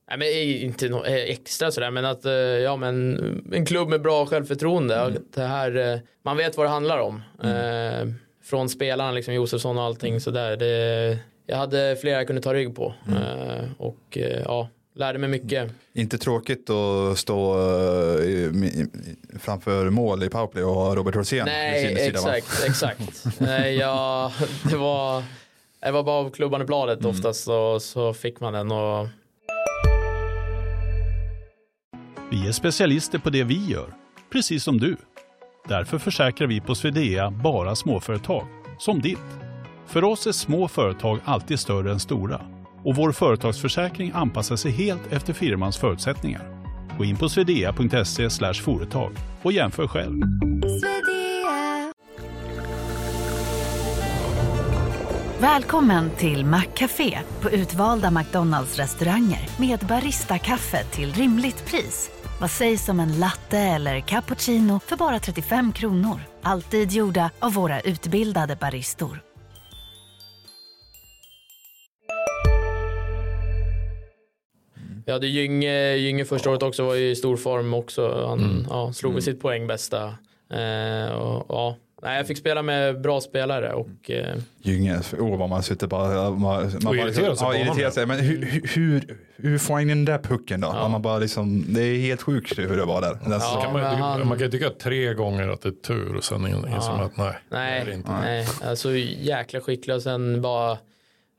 Nej, men i- inte nå- eh, extra sådär men att eh, ja men en klubb med bra självförtroende. Mm. och Det här, eh, man vet vad det handlar om. Eh, Från spelarna liksom Josefsson och Mm. allting sådär. Det, jag hade flera jag kunde ta rygg på. Mm. Eh, Och eh, ja, lärde mig mycket. Inte tråkigt att stå eh, i, i, i, framför mål i powerplay och ha Robert Rosén vid Nej, sin sida, va? exakt, exakt. Nej, ja, det var, det var bara av klubban i bladet oftast och så fick man den och Vi är specialister på det vi gör, precis som du. Därför försäkrar vi på Swedea bara småföretag, som ditt. För oss är små företag alltid större än stora och vår företagsförsäkring anpassar sig helt efter firmans förutsättningar. Gå in på swedea.se slash företag och jämför själv. Välkommen till Maccafé på utvalda McDonalds restauranger med Baristakaffe till rimligt pris. Vad sägs om en latte eller cappuccino för bara 35 kronor? Alltid gjorda av våra utbildade baristor. vi hade Gynge, Gynge första året också var ju i stor form också. Han ja, slog mm. sitt poäng bästa. Eh, och, ja. Nej, jag fick spela med bra spelare och eh, Gynge, åh vad man sitter bara... Man, man och bara, irriterar sig på ja, honom, irriterar ja. sig. Men hur, hur- hur, hur får han in den där pucken då? Man bara liksom, det är helt sjukt hur det var där. Alltså, Den Ja, Kan man, men han- man kan ju tycka tre gånger att det är tur och sen inser man att nej, det är det nej, inte. nej, alltså jäkla skicklig och sen bara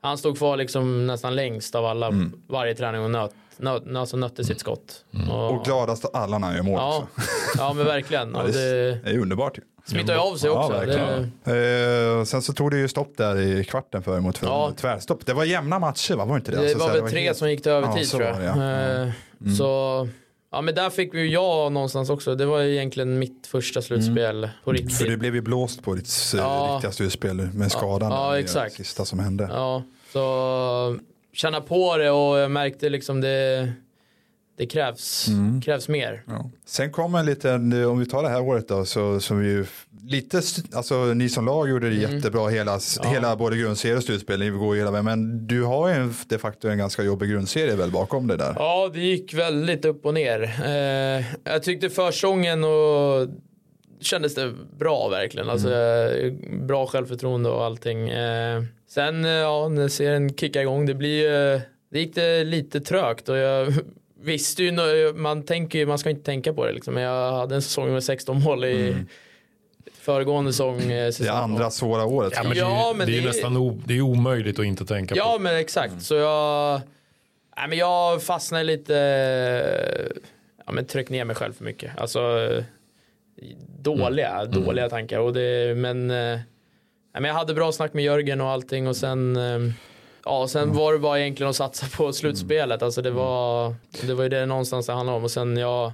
han stod kvar liksom nästan längst av alla Mm. varje träning och nöt, nöt, alltså nötte sitt skott. Och- Och gladast av alla när han gör mål Ja, också. ja men verkligen. Och det Det är underbart ju. smittar ju av sig Ja, också. det, verkligen. Eh, sen så tog det ju stopp där i kvarten för mot Ja. tvärstopp. Det var jämna matcher va? Var det inte det? det Alltså, så var här, väl tre helt- som gick till övertid Ja, så tror var jag. det, ja. Mm. Eh, Så ja, men där fick vi ju jag någonstans också. Det var ju egentligen mitt första slutspel på Mm. För riktigt. du blev ju blåst på ditt eh, Ja. riktiga slutspel med skadan. ja, där, det exakt. sista som hände. Ja, så känna på det och jag märkte liksom det, det krävs, Mm. krävs mer. Ja. Sen kom en liten, eh, om vi tar det här året då, så, som ju lite, alltså ni som lag gjorde Mm. det jättebra hela, hela både grundserie och slutspel, ni går ju hela vägen, men du har ju en, de facto en ganska jobbig grundserie väl bakom det där. Ja, det gick väldigt upp och ner. Eh, jag tyckte försången och kändes det bra verkligen. Alltså, Mm. eh, Bra självförtroende och allting. Eh, sen eh, ja, när serien kickar igång, det blir eh, det gick det lite trögt och jag visste ju, nå- man tänker ju, man ska inte tänka på det liksom. Men jag hade en säsong med 16 mål i föregående säsong. eh, Mm. Det säsong. andra svåra året. Ja, men det, är ju- Ja, men det är ju det- nästan o, det är omöjligt att inte tänka Ja på. Mm. men exakt. Så jag, nej, men jag fastnade lite, ja, men tryck ner mig själv för mycket. Alltså dåliga, Mm. dåliga tankar. Och det, men, eh, nej, men jag hade bra snack med Jörgen och allting och sen eh, Ja, sen Mm. var det bara egentligen att satsa på slutspelet. Alltså det var, det var ju det någonstans det handlade om. Och sen jag,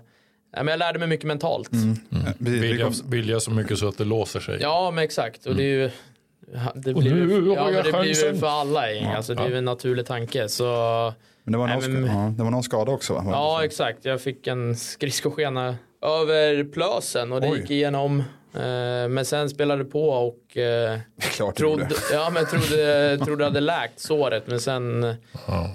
ja, men jag lärde mig Mm. Mm. mycket mentalt. Precis, Eh, vi Vilja, kom- vilja så mycket så att det låser sig. Ja, men exakt. Och det är ju, ha- det Mm. Och blir, nu ju- har ja, jag men det blir chansen. ju för alla gäng. Alltså, det är ju en naturlig tanke. Så, Men det var någon, Nej, men- skada, ja, det var någon skada också va? ja, exakt. Jag fick en skridskoskena över plösen och det Oj. gick igenom. Eh, Men sen spelade det på och eh, Klart det trodde, gjorde. ja, men jag trodde, trodde det hade läkt såret. Men sen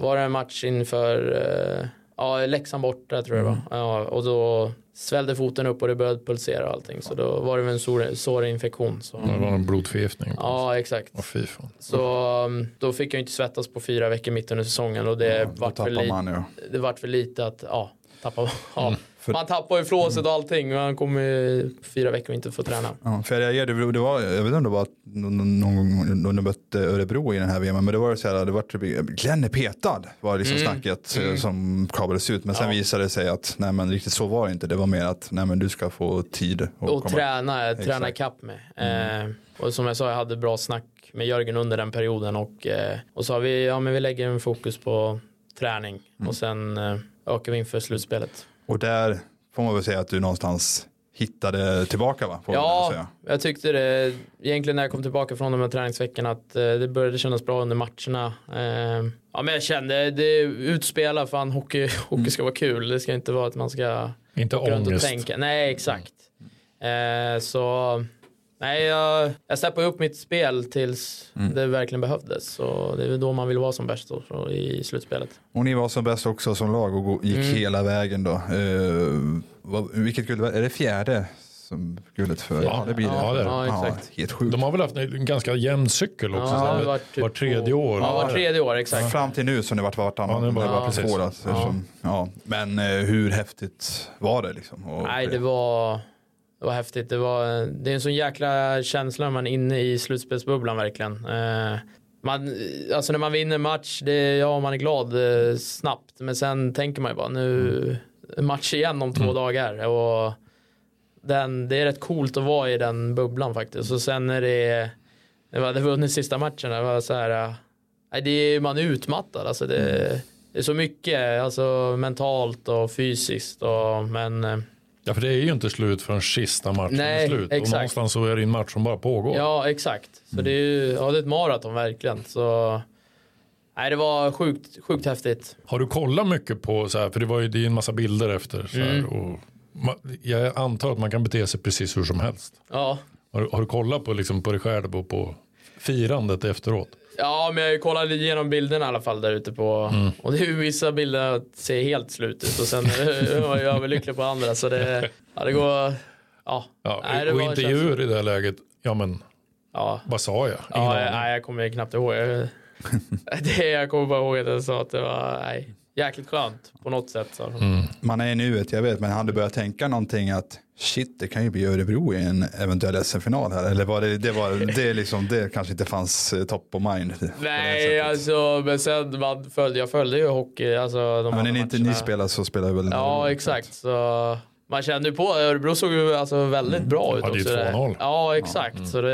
var det en match inför eh, ja, Leksand borta tror jag det var. Mm. Ja, och då svällde foten upp och det började pulsera och allting. Så då var det väl en sår, sårinfektion. Så. Mm. Det var en blodförgiftning. Ja, exakt. Åh, fy fan. Så um, då fick jag ju inte svettas på fyra veckor mitt under säsongen och det, Ja, Då vart, för tappar li- man ju. det vart för lite att ja, tappa, ja. Mm, För- man tappar ju flåset och allting. Man kommer ju fyra veckor och inte få träna. Ja, för jag reagerade, det var, jag vet inte om det var någon någon gång då ni mötte Örebro i den här VM, men det var det så här, det var, Glenn är petad var liksom Mm. snacket eh, som kablades ut. Men sen visade det sig att nej men riktigt så var det inte, det var mer att nej men du ska få tid. att Och komma. träna, träna Exakt. Mm. ikapp med. Eh, och som jag sa, jag hade bra snack med Jörgen under den perioden och, eh, och sa vi, ja men vi lägger en fokus på träning Mm. och sen eh, ökar vi inför slutspelet. Och där får man väl säga att du någonstans hittade tillbaka va? Får man väl Ja, säga. jag tyckte det egentligen när jag kom tillbaka från de här träningsveckorna att eh, det började kännas bra under matcherna. Eh, Ja, men jag kände det utspela fan hockey, hockey ska vara kul. Det ska inte vara att man ska Inte gå runt och ångest. tänka. Nej, exakt. Eh, Så nej, jag, jag steppade upp mitt spel tills Mm. det verkligen behövdes. Så det är väl då man vill vara som bäst då, så i slutspelet. Och ni var som bäst också som lag och gå- gick hela vägen då. Eh, vad, vilket guld, var- är det fjärde som guldet för? Ja, ja, det är det. Ja, exakt. helt sjukt. De har väl haft en ganska jämn cykel också. Ja, så det här, var var, typ tredje två- år. Ja, var tredje år, exakt. Fram till nu så har ni varit vartannat. Ja, nu var det bara precis. Två, då, eftersom, ja. Men eh, hur häftigt var det liksom? Och, Nej, det var, det var häftigt. Det, var, det är en sån jäkla känsla när man är inne i slutspelsbubblan verkligen. Eh, Man, alltså när man vinner match, det, ja man är glad eh, snabbt. Men sen tänker man ju bara nu, match igen om två dagar. Och den, det är rätt coolt att vara i den bubblan faktiskt. Och sen när det, när vi hade vunnit sista matchen, det var så här, eh, nej, det är, man är utmattad. Alltså det, det är så mycket, alltså mentalt och fysiskt. Och, men eh, Ja, för det är ju inte slut förrän sista matchen Nej, är slut. exakt. Och någonstans så är det en match som bara pågår. Ja, exakt. Så Mm. det är ju ja, det är ett maraton verkligen. Så, nej, det var sjukt, sjukt häftigt. Har du kollat mycket på, så här, för det var ju det är en massa bilder efter. Så här, Mm. och ma- jag antar att man kan bete sig precis hur som helst. Ja. Har, du- har du kollat på, liksom, på dig själv och på firandet efteråt? ja, men jag kollade igenom bilderna i alla fall där ute på. Mm. Och det är ju vissa bilder att se helt slut ut och sen var jag överlycklig på andra. Så det, ja, det går... Ja, Ja, Nej, det och var en intervjuer i det här läget, ja men ja. vad sa jag? Ingen Ja, aning. nej, jag kommer knappt ihåg. Jag, det, jag kommer bara ihåg att jag sa att det var nej, jäkligt skönt på något sätt. Så. Mm. Mm. Man är i nuet, jag vet, men hade du börjat tänka någonting att shit, det kan ju bli Örebro i en eventuell SM-final här? Eller var det, det, var, det, liksom, det kanske inte fanns eh, top of mind? på det Nej, sättet? alltså, men sen man följde, jag följde ju hockey. Alltså, de Ja, men andra när ni inte matcherna. ni spelar så spelar väl Ja, exakt. Så man kände ju på, Örebro såg ju alltså väldigt Mm. bra ut Ja, det är ju också. 2-0. Ja, exakt. Så det,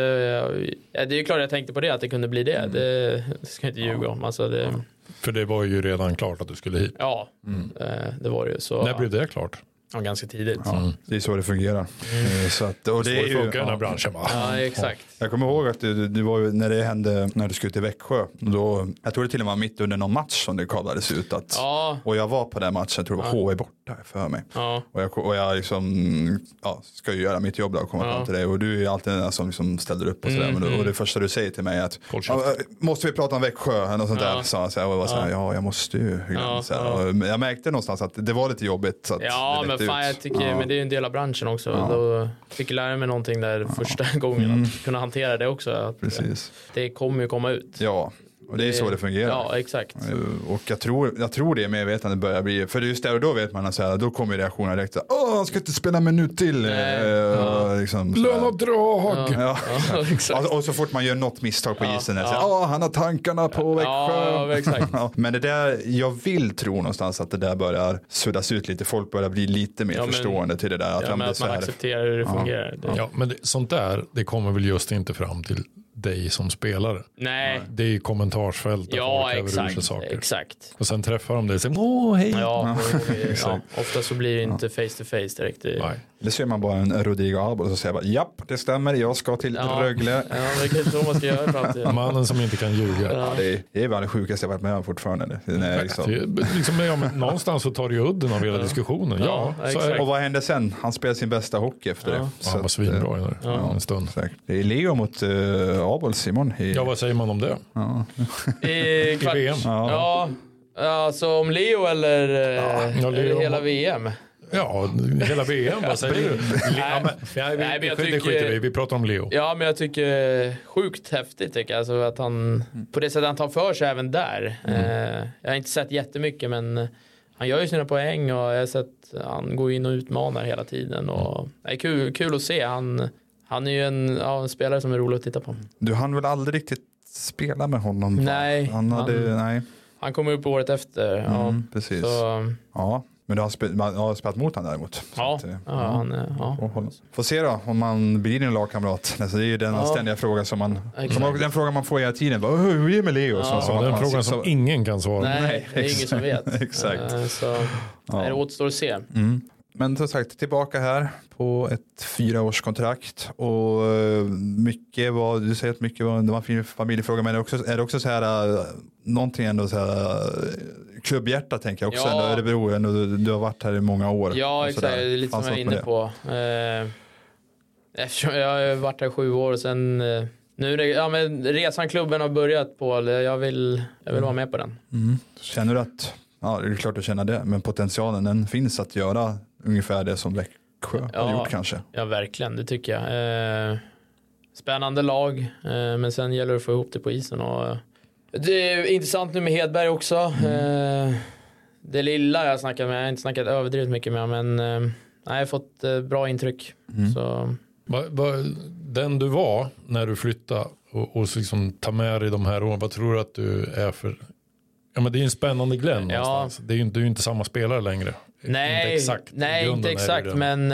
ja, det är ju klart jag tänkte på det, att det kunde bli det. Mm. Det, det ska jag inte ljuga om. Alltså, det, För det var ju redan klart att du skulle hit. ja, Mm. eh, det var det ju. Så, När blev det klart? Mm. ja, ganska tidigt. Ja, Ja, det är så det fungerar. Eh, Så att, och det Det är ju, funkar i den här branschen va? exakt. Jag kommer ihåg att du, du var ju, när det hände när du skulle till Växjö. Då, jag tror det till och med var mitt under någon match som det kablades ut. Att, Ja, Och jag var på den matchen, jag tror det var HV borta för mig. ja, Och jag, och jag liksom, ja, ska ju göra mitt jobb där och komma fram till dig. Och du är ju alltid den där som liksom ställer upp och Mm, sådär. Men då, och det första du säger till mig är att, Håll käft. ja, eh, måste vi prata om Växjö? Eller något sånt där. Så, jag var bara såhär, ja jag måste ju. Ja, så här. Och jag märkte någonstans att det var lite jobbigt. Så att ja det men läckte fan ut. jag tycker Ja. men det är ju en del av branschen också. Då fick jag lära mig någonting där första gången. Att kunna hantera det också. Att Mm. Precis. det kommer ju komma ut. Ja, och det är ju så det fungerar. Ja, exakt. Eh, Och jag tror, jag tror det är medvetandet börjar bli, för det är just där och då vet man att så här, då kommer ju reaktionerna direkt. så här, Åh, han ska inte spela en minut till. Nej. Eh, liksom, så här. Löneavdrag! Ja. Ja, exakt. Alltså, och så fort man gör något misstag på Ja, isen, där, ja. så här, "Åh, han har tankarna på Växjö. Ja, exakt. Ja, Men det där, jag vill tro någonstans att det där börjar suddas ut lite. Folk börjar bli lite mer Ja, men- förstående till det där. Att, ja, Ja, men men att så man här, accepterar hur det fungerar. Det, Ja, men det, sånt där, det kommer väl just inte fram till dig som spelare. Nej, Det är ju kommentarsfält där ja folk häver ur sig exakt. saker. exakt. eh, Och sen träffar de dig och säger åh hej. Ja, och, ja, ofta så blir det inte face to face direkt. eh. Det, Nej. Eller så gör man bara en Rodrigo Albo och så säger jag bara japp, det stämmer, jag ska till Ja. Rögle. Ja, men det kanske är så man ska göra i framtiden. Mannen som inte kan ljuga. Ja. Det är, det är bara det sjukaste jag varit med om fortfarande. Det är Det liksom. är Liksom, ja, men någonstans så tar det ju udden av hela diskussionen. Ja, Ja, så är exakt. det. Och vad hände sen? Han spelade sin bästa hockey efter det. Ja, han var att, eh, svinbra i den där, en stund. säkert. Det är Leo mot uh, Abel, Simon. I, Ja, vad säger man om det? I kvart. VM. Ja. Alltså om Leo eller eh, Ja, Leo. hela VM? Ja, hela VM, vad säger du? Ja, men, nej, vi, Nej, men jag det tycker- skiter vi i. Vi pratar om Leo. Ja, men jag tycker eh, sjukt häftigt tycker jag. Alltså att han, Mm. på det sättet han tar för sig även där. Eh, jag har inte sett jättemycket, men eh, han gör ju sina poäng och jag har sett han går in och utmanar hela tiden. Mm. Och, det är kul, kul att se. Han, han är ju en, ja, en spelare som är rolig att titta på. Du hann väl aldrig riktigt spela med honom? va? Nej, Han hade, han- nej. Han kommer upp året efter. Ja, Mm, precis. så, Ja, men du har, spe, man har spelat mot honom däremot. Så ja, att, eh, ja, han, eh, ja. och hålla. Får se då om man blir din lagkamrat. Alltså, det är ju den Ja. ständiga frågan som man, Exakt. som man- den frågan man får hela tiden. Bara, Hur hur är det med Leo? Så, Ja, att Alltså, den man- frågan som ingen kan svara på. Nej, det är ingen som vet. Exakt. Eh, Så, nej, det återstår att se. Men som sagt, tillbaka här på ett fyraårskontrakt. Och eh, mycket var, du säger att mycket var, det var en fin familjefråga, men är det också, är det också så här, eh, någonting ändå så här, eh, klubbhjärta tänker jag också. Ja. Ändå Örebro, ändå, du, du har varit här i många år. Ja, och så exakt. Det Alltså där. är lite som Fanns jag är något med inne det? på. Eh, Eftersom jag har varit här sju år och sen eh, nu är det, ja, men resan klubben har börjat på. Jag vill, jag Mm. vill vara med på den. Känner du att, ja det är klart du känner det, men potentialen den finns att göra ungefär det som Växjö har Ja. gjort kanske. Ja, verkligen. Det tycker jag. Eh, Spännande lag, eh, men sen gäller det att få ihop det på isen. Och, eh, det är intressant nu med Hedberg också. Mm. Eh, Det lilla jag har snackat med, jag har inte snackat överdrivet mycket med honom, men eh, nej, jag har fått eh, bra intryck. Mm. Så, Va, va, den du var när du flyttade och, och så liksom ta med dig de här åren, vad tror du att du är för? Ja, men det är ju en spännande Glenn Ja. någonstans. Det är ju inte, du är ju inte samma spelare längre. Nej, Eh, inte exakt. I nej, grunden inte är det exakt. det. Men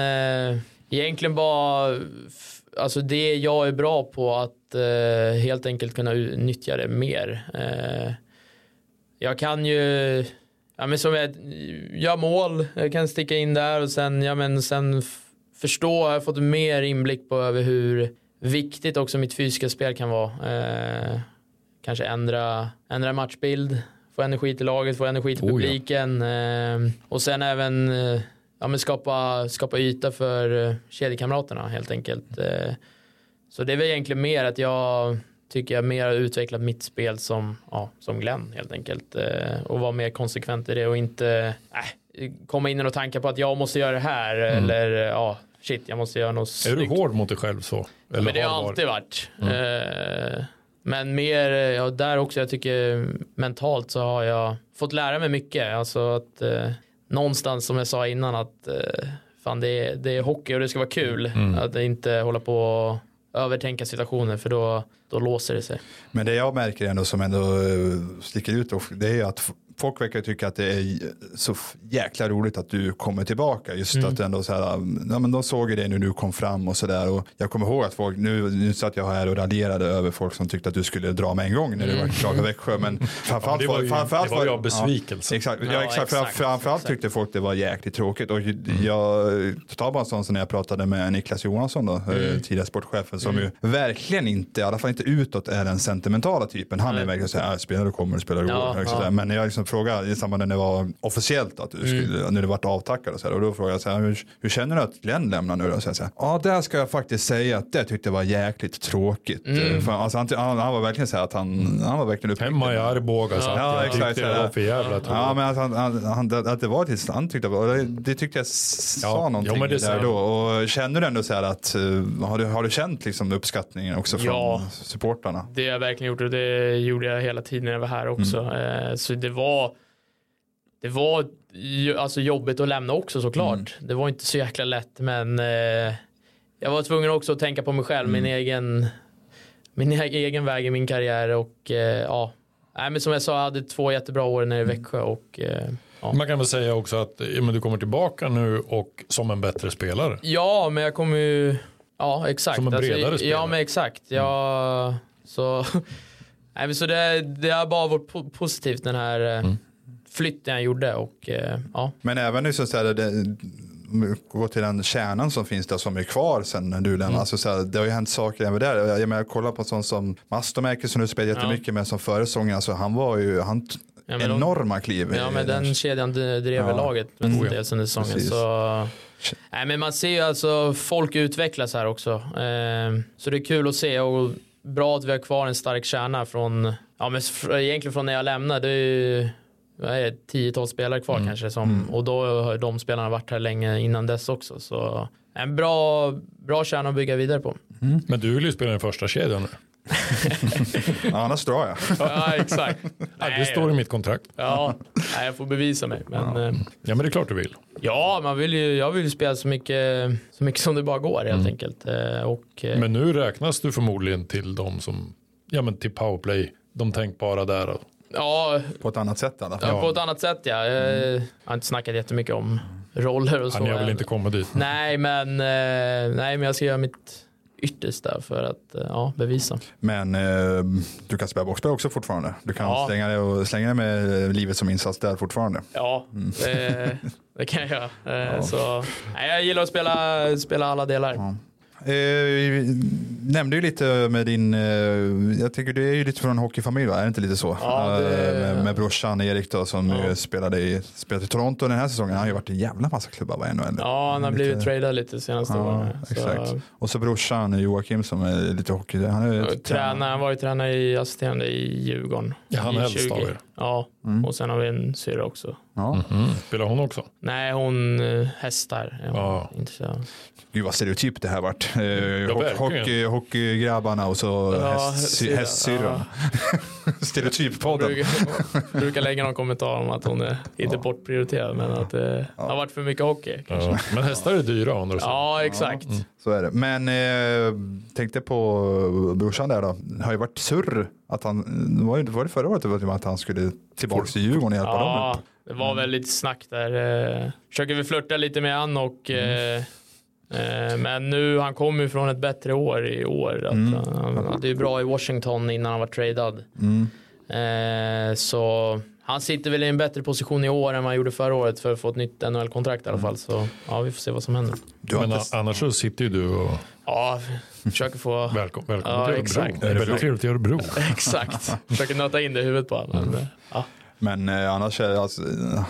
eh, egentligen bara f- alltså det jag är bra på att eh, helt enkelt kunna u- nyttja det mer. Eh, jag kan ju ja, men som jag, jag mål, jag kan sticka in där och sen, ja, men sen f- förstå, jag har fått mer inblick på över hur viktigt också mitt fysiska spel kan vara. Eh, kanske ändra, ändra matchbild, få energi till laget, få energi till Oh ja. publiken eh, och sen även eh, ja, men skapa, skapa yta för eh, kedjekamraterna helt enkelt. Eh, så det är väl egentligen mer att jag tycker jag mer har utvecklat mitt spel som, ja, som Glenn helt enkelt. Eh, och vara mer konsekvent i det och inte äh, komma in i några tankar på att jag måste göra det här eller ja, shit jag måste göra något Mm. Är du snyggt. hård mot dig själv så? Eller Mm. Men det har varit? alltid varit. Eh, Men mer, eh, ja, där också, jag tycker mentalt så har jag fått lära mig mycket. Alltså att eh, någonstans som jag sa innan att eh, fan det är, det är hockey och det ska vara kul. Mm. Att inte hålla på och övertänka situationer för då, då låser det sig. Men det jag märker ändå som ändå eh, sticker ut och det är ju att f- folk verkar tycka att det är så f- jäkla roligt att du kommer tillbaka. Just att Mm. ändå så här, um, ja, men de såg ju det när du kom fram och så där. Och jag kommer ihåg att folk, nu, nu satt jag här och raljerade över folk som tyckte att du skulle dra med en gång när du var klar för Växjö. Men framförallt Mm. det var ju- framförallt det var ju av besvikelse. Ja, exakt, ja, Ja, exakt. Fram- exakt, Framförallt exakt. tyckte folk det var jäkligt tråkigt. Och ju- jag tar bara en sån som när jag pratade med Niklas Johansson, då, eh, tidigare sportchefen, som ju verkligen inte, i alla fall inte utåt, är den sentimentala typen. Han är verkligen så här, "Ah, spelar du kommer, spelar du går. Ja, Liksom ja. så här. Men när jag liksom frågade i samband när det var officiellt att du skulle, när du vart avtackad och så här, och då frågade jag så här, hur, hur känner du att Glenn lämnar nu då? Så jag så här, Ja, där ska jag faktiskt säga att det tyckte jag var jäkligt tråkigt. Eh, För, alltså, han, han, han var verkligen så här att han, han var verkligen uppriktig. Hemma i Arboga så Ja, jag exakt, tyckte det ja. var för jävla tråkigt. Ja, men att, han, han, han, att det var ett han tyckte och det, det tyckte jag s- sa Ja, jo, någonting men det sa där jag. då. Och känner du ändå så här att, eh, har du, har du känt liksom uppskattningen också från Ja. supportrarna? Det har jag verkligen gjort och det gjorde jag hela tiden när jag var här också. Eh, Så det var, det var ju- alltså jobbigt att lämna också såklart. Det var inte så jäkla lätt men eh, jag var tvungen också att tänka på mig själv, min egen min e- egen väg i min karriär och eh, ja. Nej, men som jag sa, jag hade två jättebra år nere i Växjö och eh, ja. Man kan väl säga också att ja, men du kommer tillbaka nu och som en bättre spelare. Ja, men jag kommer ju... Ja, exakt. Alltså, Som en bredare spelare. Mm. Ja, men exakt. Jag, så, nej, men så det, det har bara varit po- Mm. positivt den här eh, flytten jag gjorde. Och, eh, ja. Men även liksom så här, det, gå till den kärnan som finns där som är kvar sen när du lämnar. Mm. Alltså, så här, det har ju hänt saker även där. Jag, jag, menar, jag kollar på en sån som Mastomäki som du spelar jättemycket med som förra säsongen. Alltså, han var ju, han t- Ja, men de- enorma kliv. i Ja, men den kedjan d- drev Ja. Mm. laget mestadels under säsongen. Precis. Så... Nej, men man ser ju alltså folk utvecklas här också. Ehm, Så det är kul att se och bra att vi har kvar en stark kärna från, ja men fr- egentligen från när jag lämnade. Det är ju vad är det, 10-12 spelare kvar Mm. kanske. Som, Och då har de spelarna varit här länge innan dess också. Så en bra, bra kärna att bygga vidare på. Mm. Men du vill ju spela i den första kedjan nu. Ja, annars drar jag. Ja, exakt. Ja, det står i mitt kontrakt. Ja, nej, jag får bevisa mig. Men, ehm, Ja, men det är klart du vill. Ja, man vill ju, jag vill ju spela så mycket, så mycket som det bara går helt enkelt. Eh, Och, eh, Mm. Men nu räknas du förmodligen till de som, ja men till powerplay, de tänkbara där. ja, På ett annat sätt i alla fall. på ett annat sätt ja. Mm. Eh, Jag har inte snackat jättemycket om roller och så. Han jag än. vill inte komma dit. Nej, men, eh, nej, men jag ska göra mitt yttersta för att eh, ja, bevisa. Men eh, du kan spela boxplay också fortfarande. Du kan Ja. slänga, det och, slänga det med eh, livet som insats där fortfarande. Mm. Ja, det, Eh, det kan jag göra. Eh, Så, nej, jag gillar att spela, spela alla delar. Eh, vi nämnde ju lite med din, eh, jag tänker du är ju lite från en hockeyfamilj va? Är det inte lite så? Ja, det- Eh, med, med brorsan Erik då som ju spelade i, spelade i Toronto den här säsongen. Han har ju varit i en jävla massa klubbar va? i NHL. Ja, han har blivit tradad lite senaste Ja, åren. exakt. Så, Och så brorsan Joakim som är lite hockey. Han är ju- Tränare, han var ju tränare i assisterande i Djurgården. Ja, han I är äldst av er. Ja, Mm. och sen har vi en syrra också. Mm. Ja. Mm-hmm. Spelar hon också? Nej, hon eh, hästar. är hon Ja. intresserad av. Gud vad stereotypt det här vart. Eh, hock- verkligen. hockey, hockeygrabbarna och så Ja, häst- syrra. hästsyrran. Stereotyppodden. Brukar, brukar lägga någon kommentar om att hon är inte bortprioriterad, men att det har varit för mycket hockey. Kanske. Ja. Men hästar är Mm. dyra å andra sidan. Ja, exakt. Så är det. Men eh, tänkte på brorsan där då. Det har ju varit surr. Att han, det var, ju, var det förra året det var till och med att han skulle tillbaka till Djurgården och hjälpa dem? Ja, det Mm. var väl lite snack där. Eh, Försöker vi flörta lite med han och Mm. eh, eh, men nu, han kom ju från ett bättre år i år. Att Mm. han, han hade ju bra i Washington innan han var tradad. Mm. Eh, så han sitter väl i en bättre position i år än vad han gjorde förra året för att få ett nytt NHL-kontrakt i alla fall. Så ja, vi får se vad som händer. Du har Men inte, a- annars så sitter ju du och Ja, försöker få... välkom, välkommen Ja, till Örebro. exakt. Det är väldigt trevligt i Örebro. Exakt. Försöker nöta in det i huvudet på honom. Men, eh, ja. men eh, annars är det alltså, eh,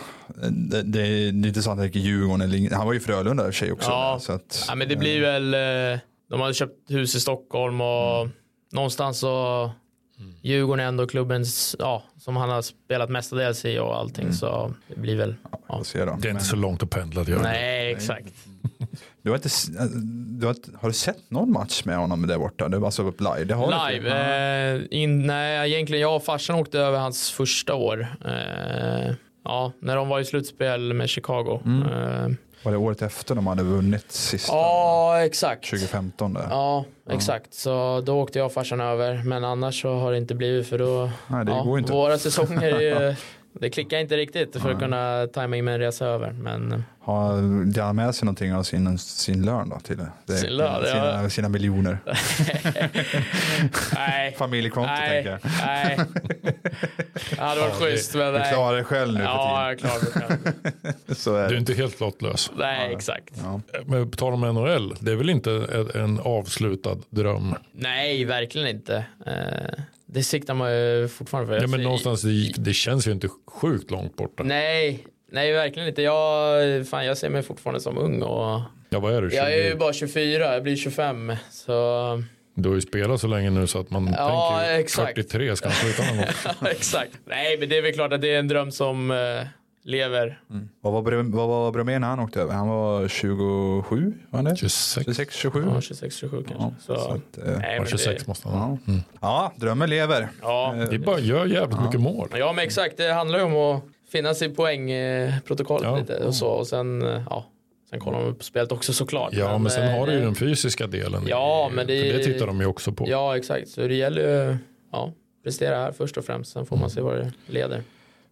det, det är lite så att han gick i Djurgården. Eller, ing- han var ju i Frölunda i och för sig också. Ja. Så att, Ja, men det blir väl, eh, de hade köpt hus i Stockholm och någonstans så Djurgården är ändå klubben ja, som han har spelat mestadels i och allting så det blir väl. vi får se då. Det är inte så långt att pendla till Örebro. Nej exakt. Du har, inte, s- eh, du har, inte- har du sett någon match med honom där borta? Du, alltså live? Det har Du, Live. inte. Eh, in, nej egentligen jag och farsan åkte över hans första år. Eh, ja, när de var i slutspel med Chicago. Mm. Eh, Var det året efter de hade vunnit sista? ja exakt. 2015 där. Ja, exakt. Så då åkte jag och farsan över. Men annars så har det inte blivit för då... Nej, det ja, går inte. Våra säsonger är ju... Det klickar inte riktigt för att kunna tajma in med en resa över. Men Har Diana med sig någonting av sin, sin lön då? Till det? Sin lön, sina, ja. sina miljoner. nej. Familjekonto nej, tänker jag. nej. Det hade varit schysst men Du nej. klarar dig själv nu Ja, för jag klarar mig själv. tiden. Så är Du är det. inte helt lottlös. Nej, exakt. Men på tal om NHL, det är väl inte en- en avslutad dröm? Alltså, Nej, verkligen inte. Eh, Det siktar man ju fortfarande för. Ja, men Alltså, någonstans, det, gick- det känns ju inte sjukt långt borta. Nej, nej verkligen inte. Jag, fan, jag ser mig fortfarande som ung och Ja, vad är du? Jag är ju 20? bara 24, jag blir 25. Så Du har ju spelat så länge nu så att man Ja, tänker ju, exakt. 43 ska han sluta någon gång. exakt. Nej, men det är väl klart att det är en dröm som eh, lever. Vad var, Brom- vad var Bromé när han åkte över? Han var 27, var han det? 26, 26, 27? Mm. Ja, 26, 27 kanske. Ja, så, Mm. så att, eh, nej, var men 26 det, måste han ha. Ja, drömmen lever. ja. Det är bara gör jävligt mycket mål. ja, men exakt. Det handlar ju om att finnas i poängprotokollet Ja. eh, lite och så. Och sen, eh, ja, sen kollar man på spelet också såklart. Ja, men sen eh, har du ju den fysiska delen. Ja, men det- För det tittar de ju också på. Ja, exakt. Så det gäller ju ja, prestera här först och främst. Sen får man se vad det leder.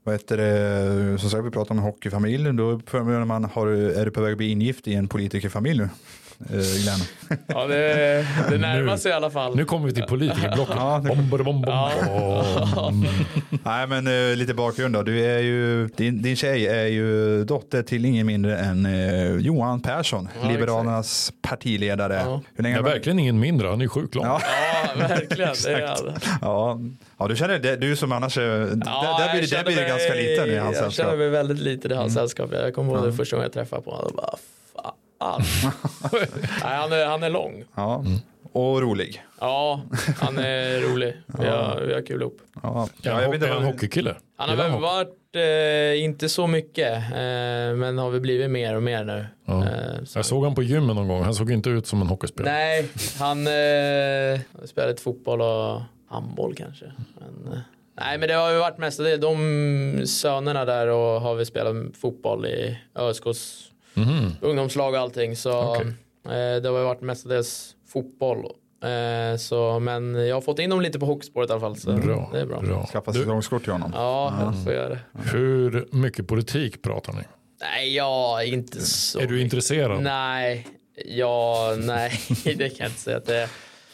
Vad heter det? Som sagt, vi pratar om hockeyfamiljen. Då förmodar man, har, du- är du på väg att bli ingift i en politikerfamilj nu? eh, Glenn. Ja, det, det närmar sig i alla fall. Nu kommer vi till politikerblocket. Ja, det- Bom, bom, bom, bom. Nej men eh, lite bakgrund då. Du är ju, din, din tjej är ju dotter till ingen mindre än eh, Johan Persson, Liberalernas partiledare. Ja. Hur länge Det är har du- verkligen ingen mindre, han är sjukt lång. Ja. Ja, verkligen. Det är, Ja, ja du känner det, du som annars, eh, ja, där, där blir, det- jag där känner blir det mig- ganska liten i hans Jag sällskap. Mm. känner mig väldigt liten i hans sällskap. Jag kommer ihåg det första gången jag träffade på honom. Jag Bara, fan. Nej, han, är, han är lång. Ja. Och rolig. Ja, han är rolig. Vi har, vi har kul ihop. Ja. Är Ja, han jag ho- vet inte är han vad- hockeykille? Han har Gillar väl hockey? varit, eh, inte så mycket, eh, men har vi blivit mer och mer nu. Ja. Eh, så- Jag såg han på gymmet någon gång, han såg inte ut som en hockeyspelare. Nej, han eh, spelade fotboll och handboll kanske. Men, eh, nej, men det har ju varit mest det. De sönerna där och har vi spelat fotboll i ÖSKs Mhm. ungdomslag och allting. Så Okej. eh, det har ju varit mestadels fotboll. Eh, så, men jag har fått in dem lite på hockeyspåret i alla fall. Så Bra. det är bra. bra. Skaffa Du, säsongskort till honom. Ja, jag får göra det. hur mycket politik pratar ni? Nej, jag är inte så. Är du intresserad? Nej, ja, nej, det kan jag inte säga att det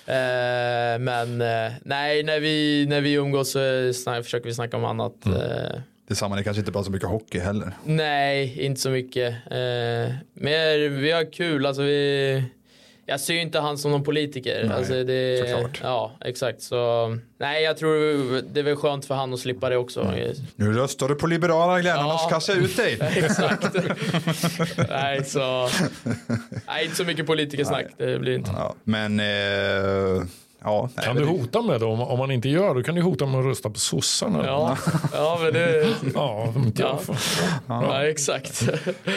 är. Eh, men eh, nej, när vi, när vi umgås så snack, försöker vi snacka om annat. Mm. Eh, Detsamma, det kanske inte bara så mycket hockey heller. nej, inte så mycket. Eh, mer, vi har kul. Alltså, vi, jag ser ju inte han som någon politiker. Nej, alltså, det, såklart. Ja, exakt. Så, nej, jag tror det är väl skönt för han att slippa det också. Nu röstar du på Liberalerna Glenn, Ja. annars kastar jag ut dig. Exakt. nej, så, nej, inte så mycket politikersnack. Det blir inte. Ja, men, eh, ja. nej, Kan men du det- hota med det? Om, om man inte gör det kan du hota med att rösta på sossarna. Ja, ja men det... ja, om inte Ja. jag får. Ja, exakt.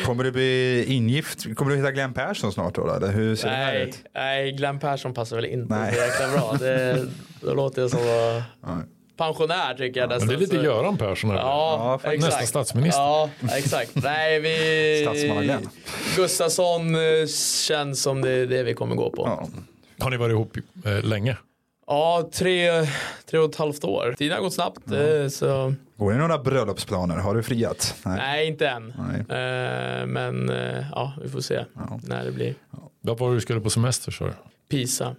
Kommer du bli ingift? Kommer du hitta Glenn Persson snart då? Eller hur ser det här Nej, ut? nej, Glenn Persson passar väl inte Nej. så jäkla bra. Det, då låter jag som eh, Nej. pensionär tycker jag Men nästan. det är lite så- Göran Persson. här. Ja, Ja, faktiskt. exakt. Nästa statsminister. Ja, exakt. Nej, vi... Statsmannen. Gustafsson eh, känns som det, det vi kommer gå på. Ja, Ja. Har ni varit ihop eh, länge? tre, tre och ett halvt år. Tiden har gått snabbt. eh, Så, Går det några bröllopsplaner? Har du friat? nej, inte än. Nej. Eh, Men eh, ja, vi får se när det blir. Vad var det du skulle på semester sa du? Pisa.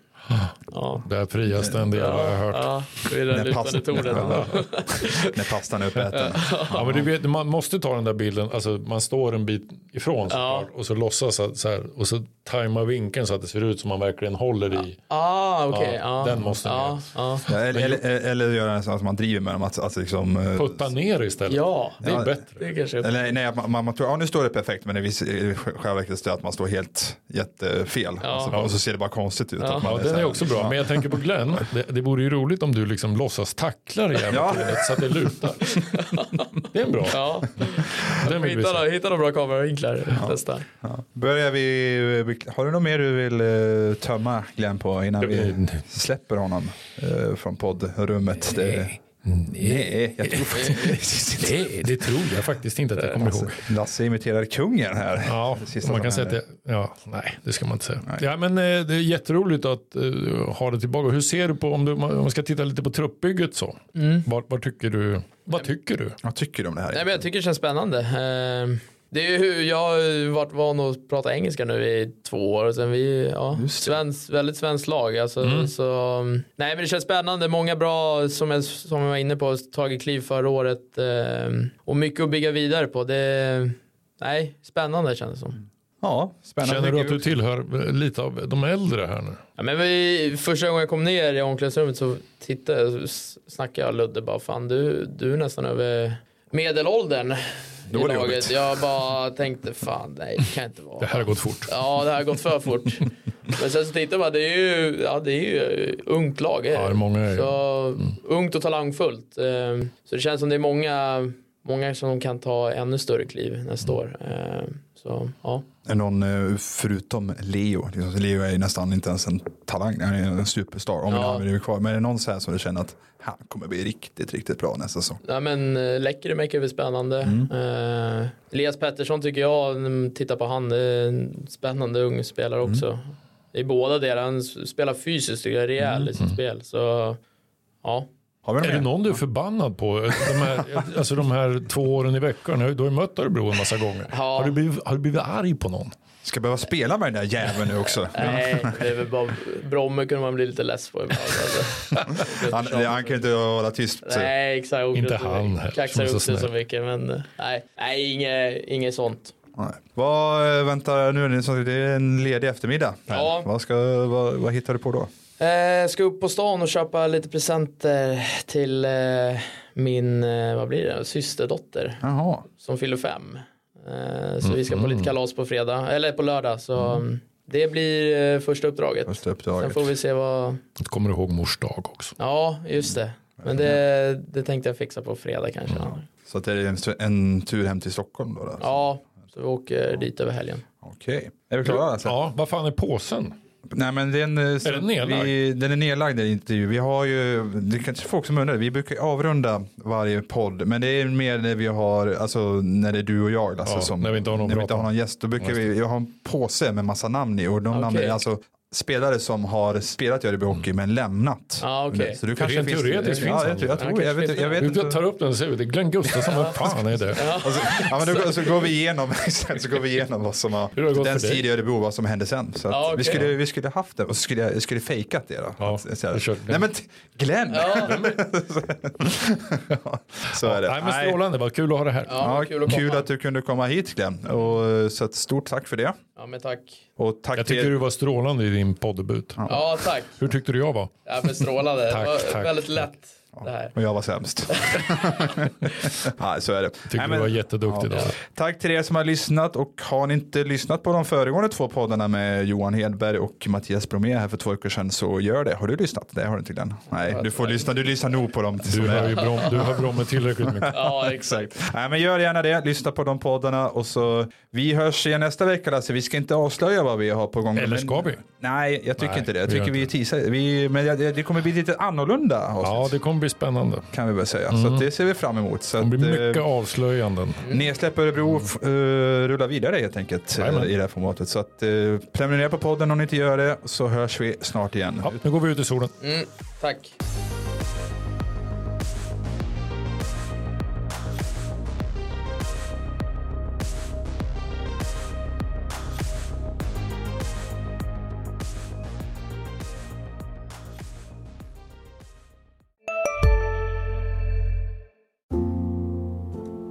Ja. Det här friaste en del har jag hört. Ja, vid det När lutande passet- tornet. Ja. När pastan är uppäten. Ja, men du vet, man måste ta den där bilden, alltså, man står en bit ifrån såklart, och så låtsas att, så här, och så tajmar vinkeln så att det ser ut som man verkligen håller i. Ah, okej. Ja, ja. den måste ja, ner. ja. Ja, eller, eller, eller göra så att man driver med dem. Att, att liksom, eh, Putta ner istället. ja, Det är Ja. bättre. det kanske är... eller nej, att man, man, man tror ja, nu står det perfekt men det visar- i själva verket så är det att man står helt jättefel. Alltså, och så ser det bara konstigt ut. Att man Ja, så den här- är också bra, men jag tänker på Glenn. Det, det vore ju roligt om du liksom låtsas tacklar jävla Ja. tornet så att det lutar. Det är en bra. Ja, Den vill vi hitta, se. då, hitta då bra kameravinklar. Testa. Börjar vi, har du något mer du vill eh, tömma Glenn på innan Mm. vi släpper honom eh, från poddrummet? Nej, nej jag tror faktiskt inte. Nej, det tror jag faktiskt inte att jag kommer ihåg. Lasse imiterar kungen här. Ja, alltså Det sista man som kan säga att händer. det, ja, nej, det ska man inte säga. Ja, men eh, det är jätteroligt att eh, ha det tillbaka. Hur ser du på, om, du, om man ska titta lite på truppbygget så, vad, vad tycker du? Vad tycker du? Vad tycker du om det här? Mm. Nej, men jag tycker det känns spännande. Eh, Det är ju hur, jag har ju varit van att prata engelska nu i två år. och Sen vi, ja, svensk, väldigt svenskt lag. Alltså, Mm. så, nej, men det känns spännande. Många bra, som jag, som jag var inne på, tagit kliv förra året. eh, Och mycket att bygga vidare på. Det, nej, spännande känns det som. Ja, spännande. Känner du att du tillhör eh, lite av de äldre här nu? Ja, men vi, första gången jag kom ner i omklädningsrummet så tittade jag, så s- snackade jag och Ludde bara fan du, du är nästan över medelåldern Då i är det laget. jobbigt. Jag bara tänkte fan nej det kan inte Det vara. här har gått fort. Ja det här har gått för fort. Men sen så tittade jag bara det är ju, ja, det är ju ungt lag. är det. Ja, det är många är- så, Ungt och talangfullt. Eh, Så det känns som det är många, många som kan ta ännu större kliv nästa år. Eh, Så ja. Är någon eh, förutom Leo? Liksom, Leo är ju nästan inte ens en talang, han är en superstar om Ja. han blir kvar. Men är det någon så här som du känner att han kommer bli riktigt, riktigt bra nästa säsong? Ja, men eh, Lekkerimäki är väl spännande. Mm. Eh, Elias Pettersson tycker jag, när man tittar på han, eh, en spännande ung spelare Mm. också. Mm. I båda delar, han s- spelar fysiskt tycker jag, rejäl i sitt spel. Så ja, Har vi Är det någon du är förbannad på? Eh, De här, alltså de här två åren i veckan, du har ju mött Örebro en massa gånger. Ja. Har, du blivit, har du blivit arg på någon? Ska jag behöva spela med den där jäveln nu också? Nej, det är väl bara Bromme kunde man bli lite less på ibland. Alltså. Han, han kan inte hålla tyst. Nej, exakt. Och Inte och- han heller, som Kaxar är så upp sig så snäll. mycket, men eh, nej, nej inget, inget sånt. Nej. Vad, eh, vänta nu, är det som- det är en ledig eftermiddag. här. Ja. Vad, ska, vad, vad hittar du på då? Eh, ska upp på stan och köpa lite presenter till eh, min, eh, vad blir det, systerdotter Jaha. som fyller fem. Eh, så vi ska på lite kalas på fredag, eller på lördag. Så mm. det blir eh, första uppdraget. Första uppdraget. Sen får vi se vad, Kommer du ihåg mors dag också? ja just det. Men det, det tänkte jag fixa på fredag kanske. Så att det är en, en tur hem till Stockholm då? då? Ja, så vi åker dit över helgen. Okej. Är vi klara? Alltså? Ja, vad fan är påsen? Nej men den, eh, så- den nedlagd? Vi, den är nedlagd i intervju. Vi har ju, det är kanske folk som undrar, vi brukar avrunda varje podd. Men det är mer när vi har, alltså när det är du och jag. Alltså, Ja, som, när vi inte har någon att när vi inte prata har någon gäst. Då brukar vi, jag har en påse med massa namn i. Och de Okej. namnen är alltså spelare som har spelat i Örebro Mm. Hockey men lämnat. Ja, okej. Så du kanske Rent finns, teoretiskt ja, finns jag, han ju. tror- jag, tror- jag, vet, jag vet inte. Vi tar upp den och ser ut. Det är Glenn Gustafsson, vad fan är det? Alltså, ja, men då, så går vi igenom, exakt, så går vi igenom vad som har, Hur har det gått den för dig? tid i Örebro, vad som hände sen. Så att Ja, okej. vi, skulle, vi skulle haft det och så skulle jag, jag skulle fejkat det då. Ja, Att- så här, vi kör nej Glenn. men t- Glenn! Ja, Ja, så är det. Nej, men Nej. strålande, vad kul att ha det här. ja, kul att kul komma. att du kunde komma hit Glenn. Och, eh, så att stort tack för det. Ja, men tack. Och tack Jag tycker till du var strålande i din poddebut. Ja, tack. Hur tyckte du jag var? Ja, men strålande. Tack, det var tack, väldigt tack. lätt det här. och jag var sämst. Nej, så är det. Tycker Nej, du var men, jätteduktig idag. tack till er som har lyssnat och har ni inte lyssnat på de föregående två poddarna med Johan Hedberg och Mattias Bromé här för två veckor sedan så gör det. Har du lyssnat? Det har du inte Glenn. Nej, du får lyssna. Du lyssnar nog på dem. som Du är- hör ju Brom, du hör Bromme tillräckligt mycket. Ja, exakt. Nej, men gör gärna det. Lyssna på de poddarna och så vi hörs igen nästa vecka. Lasse. vi ska inte avslöja vad vi har på gång. Eller ska Men- vi? Nej, jag tycker Nej, inte det. Jag vi gör tycker vi inte teasar. Vi, men jag- det kommer bli lite annorlunda Ja, avsnitt, det kommer bli spännande. kan vi väl säga. Så att det ser vi fram emot. Så Det att, blir mycket eh, avslöjanden. Nedsläpp Mm. Örebro f- eh, rullar vidare helt enkelt eh, Jajamän. i det här formatet. Så att, eh, prenumerera på podden om ni inte gör det så hörs vi snart igen. Ja, nu går vi ut i solen. Mm, tack.